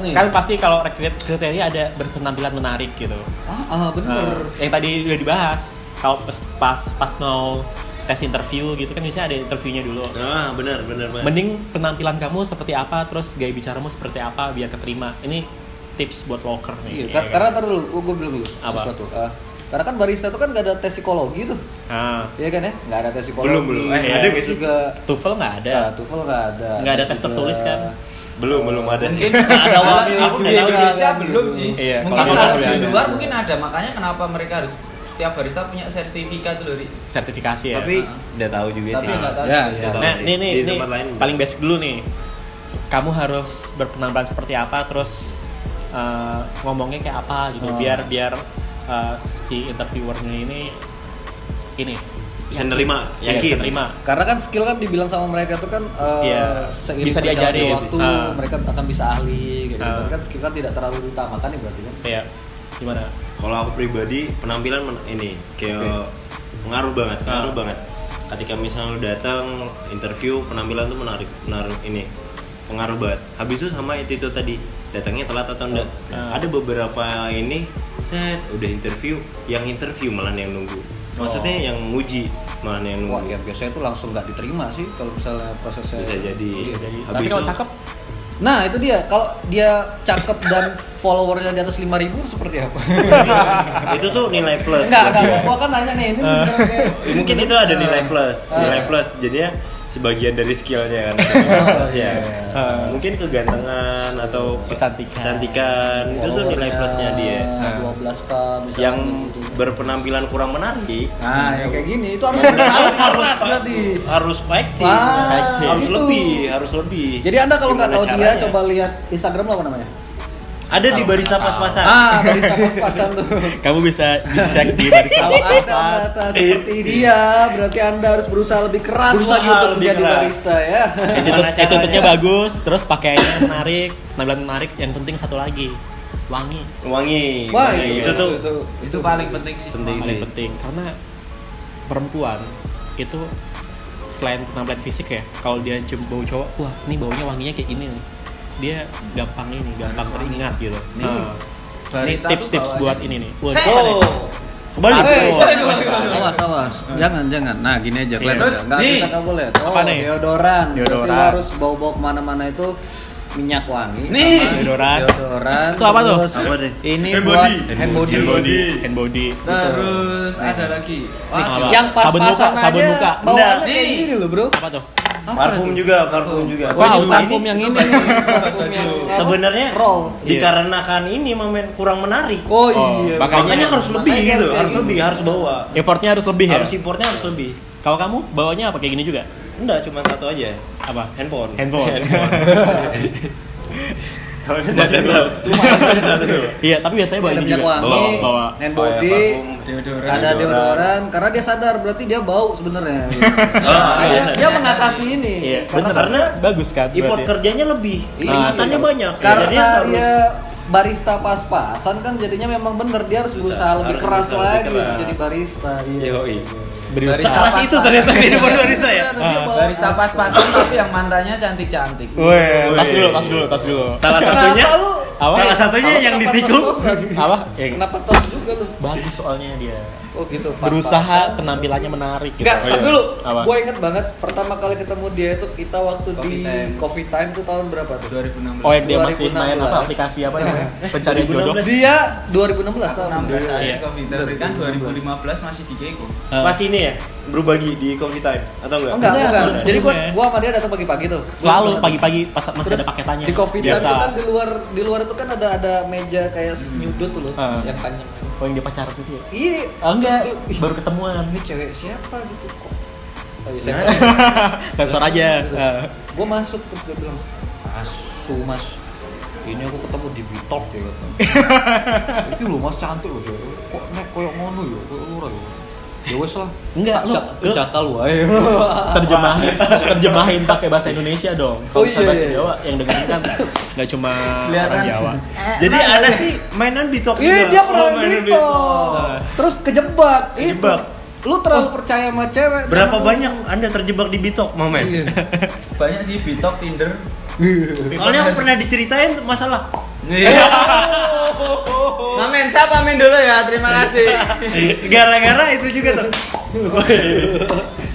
Speaker 1: dia-
Speaker 2: nih
Speaker 1: Kan pasti kalau kriteria- kriteria ada berpenampilan menarik gitu.
Speaker 2: ah, ah bener
Speaker 1: Nah, yang tadi udah dibahas kalau pas pas pas mau tes interview gitu kan biasanya ada interviewnya dulu
Speaker 3: ah benar benar banget
Speaker 1: mending penampilan kamu seperti apa terus gaya bicaramu seperti apa biar keterima ini tips buat walker nih ya
Speaker 2: Iya, kar-
Speaker 1: kan?
Speaker 2: karena terlalu dulu, gue bilang dulu
Speaker 1: Apa?
Speaker 2: sesuatu. Ah, karena kan barista tuh kan gak ada tes psikologi tuh,
Speaker 1: Ah,
Speaker 2: iya kan ya? Gak ada tes psikologi.
Speaker 3: belum belum
Speaker 1: Iya.
Speaker 3: eh ada nggak
Speaker 2: Terus
Speaker 3: sih
Speaker 2: juga
Speaker 1: TOEFL nggak ada
Speaker 2: nah, TOEFL gak ada. Iya.
Speaker 1: nggak ada
Speaker 2: Terus
Speaker 1: tes
Speaker 2: juga-
Speaker 1: tertulis kan
Speaker 3: belum belum ada
Speaker 4: Mungkin ada
Speaker 2: wamil
Speaker 4: aku di
Speaker 2: juga.
Speaker 4: Indonesia belum sih.
Speaker 1: Iya,
Speaker 4: mungkin
Speaker 1: kalau
Speaker 4: kalau
Speaker 1: di
Speaker 4: di
Speaker 1: luar
Speaker 4: luar
Speaker 2: ada.
Speaker 4: mungkin ada. Makanya kenapa mereka harus setiap barista punya sertifikat loh, Ri.
Speaker 1: sertifikasi ya
Speaker 3: Ah. tapi Iya. udah tahu juga
Speaker 2: Tapi
Speaker 3: sih
Speaker 2: nggak tahu.
Speaker 3: Ya,
Speaker 2: sih.
Speaker 3: iya.
Speaker 1: nah
Speaker 3: sih.
Speaker 1: ini nih
Speaker 3: Di
Speaker 1: ini
Speaker 3: tempat lain.
Speaker 1: paling basic dulu nih kamu harus berpenampilan seperti apa terus eh, ngomongnya kayak apa gitu
Speaker 2: Ah.
Speaker 1: biar biar eh, si interviewer ini ini
Speaker 3: bisa nerima
Speaker 1: Iya,
Speaker 3: yakin
Speaker 1: bisa terima
Speaker 2: Karena kan skill kan dibilang sama mereka tuh kan eh,
Speaker 1: Iya,
Speaker 2: seiring
Speaker 1: bisa
Speaker 2: berjalannya
Speaker 1: diajarin.
Speaker 2: waktu
Speaker 1: Ah.
Speaker 2: mereka akan bisa ahli gitu.
Speaker 1: Ah.
Speaker 2: Berarti kan skill kan tidak terlalu diutamakan nih berarti kan.
Speaker 1: ya gimana
Speaker 3: kalau aku pribadi penampilan men- ini kayak pengaruh banget pengaruh banget ketika misalnya lu datang interview penampilan tuh menarik menaruh ini pengaruh banget habis itu sama itu tadi datangnya telat atau enggak
Speaker 1: Ah.
Speaker 3: ada beberapa ini set udah interview yang interview malah yang nunggu maksudnya yang muji malah yang
Speaker 2: Wah,
Speaker 3: nunggu
Speaker 2: ya biasanya tuh langsung nggak diterima sih kalau misalnya prosesnya.
Speaker 3: bisa jadi
Speaker 1: Iya, jadi-
Speaker 3: Habis
Speaker 1: tapi kalau
Speaker 3: itu-
Speaker 1: cakep
Speaker 2: Nah, itu dia. Kalau dia cakep dan followernya di atas 5000 seperti apa?
Speaker 3: itu tuh nilai plus
Speaker 2: Enggak, enggak. Gua kan nanya nih, ini beneran kayak
Speaker 3: Ya, mungkin itu ada nilai plus
Speaker 2: Ah.
Speaker 3: nilai plus jadinya sebagian dari skillnya kan
Speaker 2: Oh,
Speaker 3: plus ya
Speaker 2: iya,
Speaker 1: Ah.
Speaker 3: mungkin kegantengan atau
Speaker 1: Kecantikan.
Speaker 3: kecantikan itu tuh
Speaker 2: Oh,
Speaker 3: nilai
Speaker 2: iya.
Speaker 3: plusnya dia Ah.
Speaker 2: 12 k misalnya
Speaker 3: yang
Speaker 2: gitu.
Speaker 3: berpenampilan kurang menarik
Speaker 2: Nah, yang kayak gini itu harus harus Ah, harus berarti.
Speaker 3: harus fighting
Speaker 2: Wah,
Speaker 3: Fighting. harus
Speaker 2: itu.
Speaker 3: lebih harus lebih
Speaker 2: Jadi Anda kalau nggak tahu
Speaker 3: Gimana
Speaker 2: dia
Speaker 3: caranya?
Speaker 2: coba lihat Instagram lo apa namanya?
Speaker 3: ada di barista pas-pasan
Speaker 2: Ah, barista pas-pasan tuh.
Speaker 1: kamu bisa dicek di barista
Speaker 2: Kalau Anda merasa seperti dia, berarti Anda harus berusaha lebih keras
Speaker 3: Berusaha
Speaker 2: lagi untuk
Speaker 3: lebih
Speaker 2: menjadi
Speaker 3: keras.
Speaker 2: barista ya.
Speaker 3: Gimana caranya?
Speaker 1: attitude-nya bagus terus pakaiannya menarik penampilan menarik yang penting satu lagi wangi
Speaker 3: wangi
Speaker 2: Wah, iya,
Speaker 3: Wangi. ya? itu tuh
Speaker 4: Itu
Speaker 2: ya.
Speaker 4: paling penting sih.
Speaker 3: Penting.
Speaker 1: paling penting Nah, karena perempuan itu selain penampilan fisik ya kalau dia cium bau cowok wah ini baunya wanginya kayak gini nih dia gampang ini gampang
Speaker 4: Harus wangi.
Speaker 1: teringat gitu
Speaker 4: Nih,
Speaker 1: Nah, ini
Speaker 4: barista tuh
Speaker 1: tips-tips
Speaker 4: bawaannya.
Speaker 1: buat ini nih Wah,
Speaker 4: Set.
Speaker 1: kebalik. kebalik
Speaker 2: Eh,
Speaker 1: Wah.
Speaker 4: kebalik, kebalik.
Speaker 2: awas awas jangan jangan nah gini aja kelihatan
Speaker 4: Terus,
Speaker 2: nggak? nggak
Speaker 4: nih.
Speaker 2: kita nggak boleh oh
Speaker 1: Apa nih?
Speaker 2: deodoran berarti
Speaker 1: Deodoran.
Speaker 2: lo harus bau bau kemana mana itu minyak wangi
Speaker 4: Nih.
Speaker 2: sama
Speaker 1: Deodoran.
Speaker 2: deodoran
Speaker 1: Itu apa tuh?
Speaker 2: terus
Speaker 3: Apa deh?
Speaker 2: ini
Speaker 4: Hand
Speaker 2: buat
Speaker 4: body.
Speaker 2: hand body,
Speaker 3: Hand body.
Speaker 1: hand body
Speaker 4: Nah. Terus
Speaker 2: Betul.
Speaker 4: ada lagi.
Speaker 1: Apa?
Speaker 4: Wah,
Speaker 2: yang pas
Speaker 1: Sabun muka,
Speaker 2: pasan
Speaker 1: sabun muka.
Speaker 2: aja bawaannya
Speaker 4: Nah,
Speaker 2: kayak
Speaker 4: sih.
Speaker 2: gini loh bro
Speaker 1: apa tuh
Speaker 3: parfum juga parfum juga
Speaker 2: Wah, ini
Speaker 1: Wow,
Speaker 2: parfum yang ini nih parfum yang apa?
Speaker 3: sebenarnya
Speaker 2: roll
Speaker 3: dikarenakan ini momen kurang menarik
Speaker 1: Oh,
Speaker 2: oh iya
Speaker 1: makanya-
Speaker 3: makanya harus lebih
Speaker 2: Makanya
Speaker 3: gitu
Speaker 2: harus
Speaker 3: harus
Speaker 2: kayak
Speaker 3: lebih
Speaker 2: gini.
Speaker 3: harus bawa
Speaker 1: effortnya harus lebih ya
Speaker 3: harus impornya harus lebih
Speaker 1: kalau kamu bawanya apa kayak gini juga
Speaker 3: enggak cuma satu aja
Speaker 1: apa
Speaker 3: handphone
Speaker 1: handphone
Speaker 3: Soalnya nggak ada terus.
Speaker 1: Iya, tapi biasanya bawa
Speaker 2: Ada
Speaker 1: ini
Speaker 2: minyak
Speaker 1: juga.
Speaker 2: wangi,
Speaker 1: Bawa- bawa
Speaker 2: hand
Speaker 3: bawa
Speaker 2: body,
Speaker 3: parfum,
Speaker 5: deodoran.
Speaker 2: ada deodoran karena dia sadar berarti dia bau sebenarnya. gitu.
Speaker 3: Oh,
Speaker 2: Makanya
Speaker 3: iya.
Speaker 2: dia mengatasi ini.
Speaker 1: Iya,
Speaker 2: Karena-
Speaker 1: bener. Karena bagus kan?
Speaker 3: Import
Speaker 1: berarti.
Speaker 3: kerjanya lebih,
Speaker 2: Iya.
Speaker 3: kelihatannya banyak. ya. Jadi
Speaker 2: karena
Speaker 3: harus-
Speaker 2: dia barista pas-pasan kan jadinya memang bener dia harus
Speaker 3: Susah,
Speaker 2: berusaha lebih
Speaker 3: harus
Speaker 2: keras
Speaker 3: berusaha
Speaker 2: lagi
Speaker 3: lebih keras.
Speaker 2: jadi barista. Iya.
Speaker 3: Yoi.
Speaker 1: Berusaha.
Speaker 2: Sekeras itu ternyata dia bukan barista ya.
Speaker 5: Barista pas-pasan tapi yang mantannya cantik-cantik.
Speaker 1: Oh. Weh, tas dulu, tas dulu, tas dulu.
Speaker 3: Salah satunya
Speaker 2: Kenapa lu? Eh,
Speaker 1: Apa?
Speaker 3: Salah satunya yang ditikung.
Speaker 1: Apa? Yang
Speaker 2: Kenapa tos juga lu?
Speaker 1: bagus soalnya dia.
Speaker 2: Oh gitu. pas-pasan.
Speaker 1: Berusaha penampilannya menarik gitu.
Speaker 2: Enggak,
Speaker 1: Oh,
Speaker 2: tar
Speaker 1: iya.
Speaker 2: dulu.
Speaker 1: Apa?
Speaker 2: Gue inget banget pertama kali ketemu dia itu kita waktu di
Speaker 5: Coffee Time.
Speaker 2: Coffee Time tuh tahun berapa tuh?
Speaker 5: 2016.
Speaker 1: Oh, yang dia masih main apa
Speaker 2: 2016.
Speaker 1: aplikasi apa namanya? Pencarian jodoh.
Speaker 3: 2016.
Speaker 2: Dia 2016 tahun.
Speaker 5: 16
Speaker 1: Iya.
Speaker 5: akhir Covid kan 2015 masih di Geko.
Speaker 1: Eh,
Speaker 3: Masih ini ya, berubah gi- di coffee time atau enggak?
Speaker 2: Enggak,
Speaker 1: Enggak,
Speaker 2: bukan.
Speaker 1: sebelumnya.
Speaker 2: Jadi gua gua sama dia datang pagi-pagi tuh.
Speaker 1: Selalu
Speaker 2: Gua datang.
Speaker 1: pagi-pagi pas masih
Speaker 2: Terus
Speaker 1: ada paketannya. Iya.
Speaker 2: Di Coffee Time
Speaker 1: biasa.
Speaker 2: itu kan di luar di luar itu kan ada ada meja kayak nyudut tuh loh
Speaker 1: Ah.
Speaker 2: yang panjang.
Speaker 1: Oh, yang dia pacaran itu ya?
Speaker 2: Iya.
Speaker 1: Ah, enggak,
Speaker 2: Terus gua, "Ih,
Speaker 1: baru ketemuan.
Speaker 2: Ini cewek siapa gitu kok. Oh, iya,
Speaker 3: Nah,
Speaker 2: saya-
Speaker 1: Sensor aja. Eh.
Speaker 2: gue masuk terus dia bilang asu mas ini aku ketemu di Bitok ya kata itu lu mas cantik loh cewek kok nek koyok ngono ya kok lu ya ya wes lah
Speaker 1: Enggak, lu-
Speaker 2: Tak-
Speaker 1: lu-
Speaker 2: kecakal wae
Speaker 1: terjemahin terjemahin pakai bahasa Indonesia dong kalau
Speaker 2: Oh,
Speaker 1: misalnya
Speaker 2: iya,
Speaker 1: bahasa
Speaker 2: iya.
Speaker 1: Jawa yang dengerin kan nggak cuma orang
Speaker 5: Kelihatan.
Speaker 1: Jawa
Speaker 3: Jadi ada sih mainan bitok
Speaker 2: iya dia pernah
Speaker 3: Oh,
Speaker 2: main
Speaker 3: mainan
Speaker 2: Bitok terus kejebak itu
Speaker 3: Nah. Kejebak. Oh.
Speaker 2: lu terlalu percaya sama cewek
Speaker 3: Berapa
Speaker 2: Lu-
Speaker 3: banyak Anda terjebak di bitok, Momen?
Speaker 2: Iya.
Speaker 5: Banyak sih Bitok, Tinder.
Speaker 3: Soalnya aku pernah diceritain tuh masalah
Speaker 4: Nah,
Speaker 5: Mamen, saya pamen dulu ya. Terima kasih.
Speaker 3: gara-gara itu juga tuh.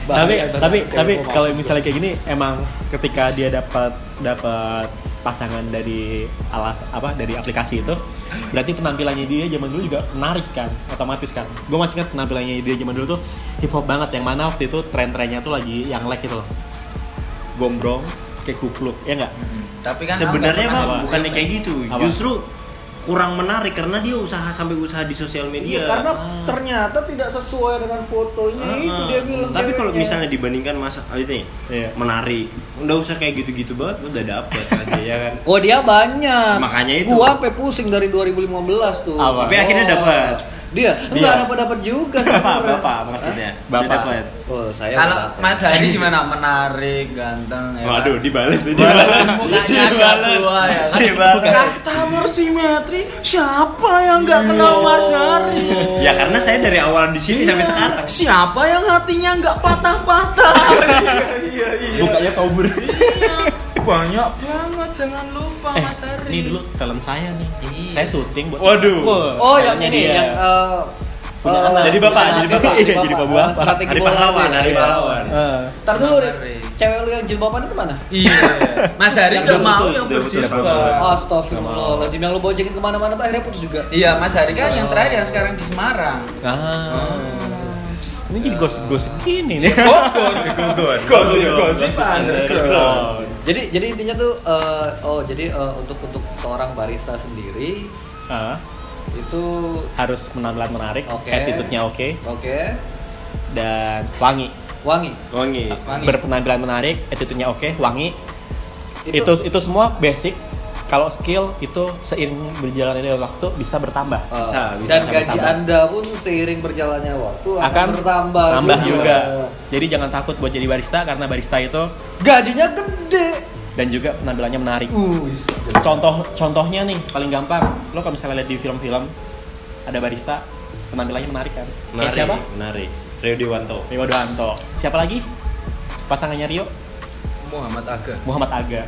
Speaker 1: tapi
Speaker 2: Bahaya, ntar
Speaker 1: tapi
Speaker 2: cewek
Speaker 1: tapi
Speaker 2: gua
Speaker 1: kalau
Speaker 2: mampus.
Speaker 1: misalnya kayak gini emang ketika dia dapat dapat pasangan dari alas apa dari aplikasi itu berarti penampilannya dia zaman dulu juga menarik kan otomatis kan gue masih ingat penampilannya dia zaman dulu tuh hip hop banget yang mana waktu itu tren-trennya tuh lagi yang like itu loh gombrong pakai kupluk ya nggak
Speaker 5: Tapi kan
Speaker 3: Sebenarnya
Speaker 1: pernah
Speaker 3: mah
Speaker 1: apa?
Speaker 3: bukannya kayak gitu,
Speaker 1: Apa?
Speaker 3: justru kurang menarik karena dia usaha sampai usaha di
Speaker 2: iya
Speaker 3: sosial media. Ah,
Speaker 2: karena ternyata tidak sesuai dengan fotonya itu dia bilang
Speaker 3: Tapi kalau
Speaker 2: ceweknya.
Speaker 3: misalnya dibandingkan masa ah, ini
Speaker 1: Iya.
Speaker 3: menari, nggak usah kayak gitu-gitu banget, udah dapet pasti ya kan.
Speaker 2: Oh dia banyak.
Speaker 3: Makanya itu.
Speaker 2: Gua sampai pusing dari 2015 tuh. Oh.
Speaker 1: Apa?
Speaker 3: Tapi akhirnya dapat.
Speaker 2: Dia enggak
Speaker 1: Dia.
Speaker 2: dapat dapat juga
Speaker 3: Bapak,
Speaker 2: sebenarnya.
Speaker 3: bapak maksudnya.
Speaker 1: Hah? Bapak.
Speaker 3: Dapat.
Speaker 2: Oh, saya
Speaker 5: kalau
Speaker 2: bapak.
Speaker 5: Mas Hari gimana? Menarik, ganteng ya. kan?
Speaker 3: Waduh, dibales nih,
Speaker 5: Balas
Speaker 3: dibales.
Speaker 5: mukanya agak tua ya kan.
Speaker 3: Dibales.
Speaker 5: Customer simetri siapa yang nggak kenal Mas Iya. Hari?
Speaker 3: Ya karena saya dari awal di sini sampai sekarang.
Speaker 5: Siapa yang hatinya nggak patah-patah?
Speaker 1: bukanya kabur
Speaker 5: Banyak banget jangan lupa
Speaker 1: eh,
Speaker 5: Mas Hari.
Speaker 1: ini dulu talent saya nih
Speaker 5: Iya.
Speaker 1: saya syuting buat
Speaker 3: Waduh.
Speaker 2: Oh,
Speaker 5: ya,
Speaker 2: yang
Speaker 1: Kayaknya
Speaker 2: ini
Speaker 1: dia.
Speaker 2: yang eh,
Speaker 5: Oh.
Speaker 1: Punya
Speaker 2: eh,
Speaker 1: anak.
Speaker 3: Jadi bapak,
Speaker 2: punya
Speaker 3: jadi
Speaker 2: anak.
Speaker 3: bapak.
Speaker 1: Iya, jadi bapak.
Speaker 2: Oh, strategi
Speaker 3: Hari
Speaker 2: bola
Speaker 3: pahlawan,
Speaker 2: dia.
Speaker 3: hari pahlawan.
Speaker 1: Eh,
Speaker 2: Ntar dulu, Ri.
Speaker 5: Menarik.
Speaker 2: cewek lu yang jilbaban itu mana?
Speaker 5: Iya. Mas Hari
Speaker 2: Yang
Speaker 5: nggak
Speaker 3: udah
Speaker 5: mau
Speaker 3: putus,
Speaker 5: yang
Speaker 3: udah putus,
Speaker 5: berjilbab.
Speaker 3: udah putus.
Speaker 2: Astagfirullahaladzim, yang lu boncengin kemana-mana tuh akhirnya putus juga
Speaker 5: Iya, Mas Hari kan
Speaker 3: Oh.
Speaker 5: yang terakhir yang sekarang di Semarang.
Speaker 1: ah. Ini jadi gosip-gosip gini nih.
Speaker 3: Gosip,
Speaker 1: gosip, underground.
Speaker 2: Jadi jadi intinya tuh, eh, oh jadi eh, untuk untuk seorang barista sendiri
Speaker 1: Ah,
Speaker 2: itu
Speaker 1: harus penampilan menarik,
Speaker 2: Oke.
Speaker 1: attitude-nya oke,
Speaker 2: Oke,
Speaker 1: dan wangi.
Speaker 2: wangi
Speaker 3: Wangi.
Speaker 5: Wangi.
Speaker 1: Berpenampilan menarik, attitude-nya oke, wangi. Itu itu, semua basic. Kalau skill itu seiring berjalannya dari waktu bisa bertambah.
Speaker 2: Eh,
Speaker 3: Bisa, bisa
Speaker 2: dan
Speaker 1: sama-sama.
Speaker 2: gaji anda pun seiring berjalannya waktu akan,
Speaker 1: akan
Speaker 2: bertambah
Speaker 1: tambah juga. Jadi jangan takut buat jadi barista karena barista itu
Speaker 2: gajinya gede
Speaker 1: dan juga penampilannya menarik.
Speaker 2: uh
Speaker 1: Contoh contohnya nih paling gampang. Lo kalau misalnya lihat di film-film ada barista penampilannya menarik kan? Kayak
Speaker 3: Menarik,
Speaker 1: siapa?
Speaker 3: menarik. Rio Dewanto.
Speaker 1: Rio Doanto. Siapa lagi? Pasangannya Rio
Speaker 5: Muhammad Aga.
Speaker 1: Muhammad Aga.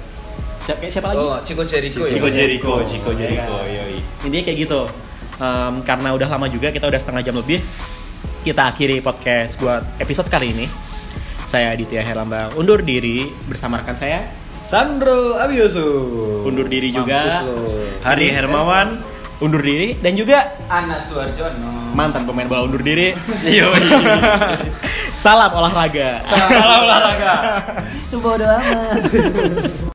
Speaker 1: Siapa kayak siapa lagi?
Speaker 5: Oh, Chico Jericho ya.
Speaker 3: Chico Jericho, Chico
Speaker 1: Iya
Speaker 3: Jericho,
Speaker 1: kan?
Speaker 3: yoi.
Speaker 1: Intinya kayak gitu. Em, karena udah lama juga kita udah setengah jam lebih. Kita akhiri podcast buat episode kali ini. Saya Aditya Herlambang undur diri bersama rekan saya.
Speaker 2: Sandro Abiyoso
Speaker 1: Undur diri juga.
Speaker 2: Mampus lo.
Speaker 3: Hari Hermawan.
Speaker 1: Undur diri dan juga
Speaker 5: Ana Suarjono.
Speaker 1: mantan pemain bola undur diri. Salam olahraga.
Speaker 2: Salam olahraga. Itu bodo amat.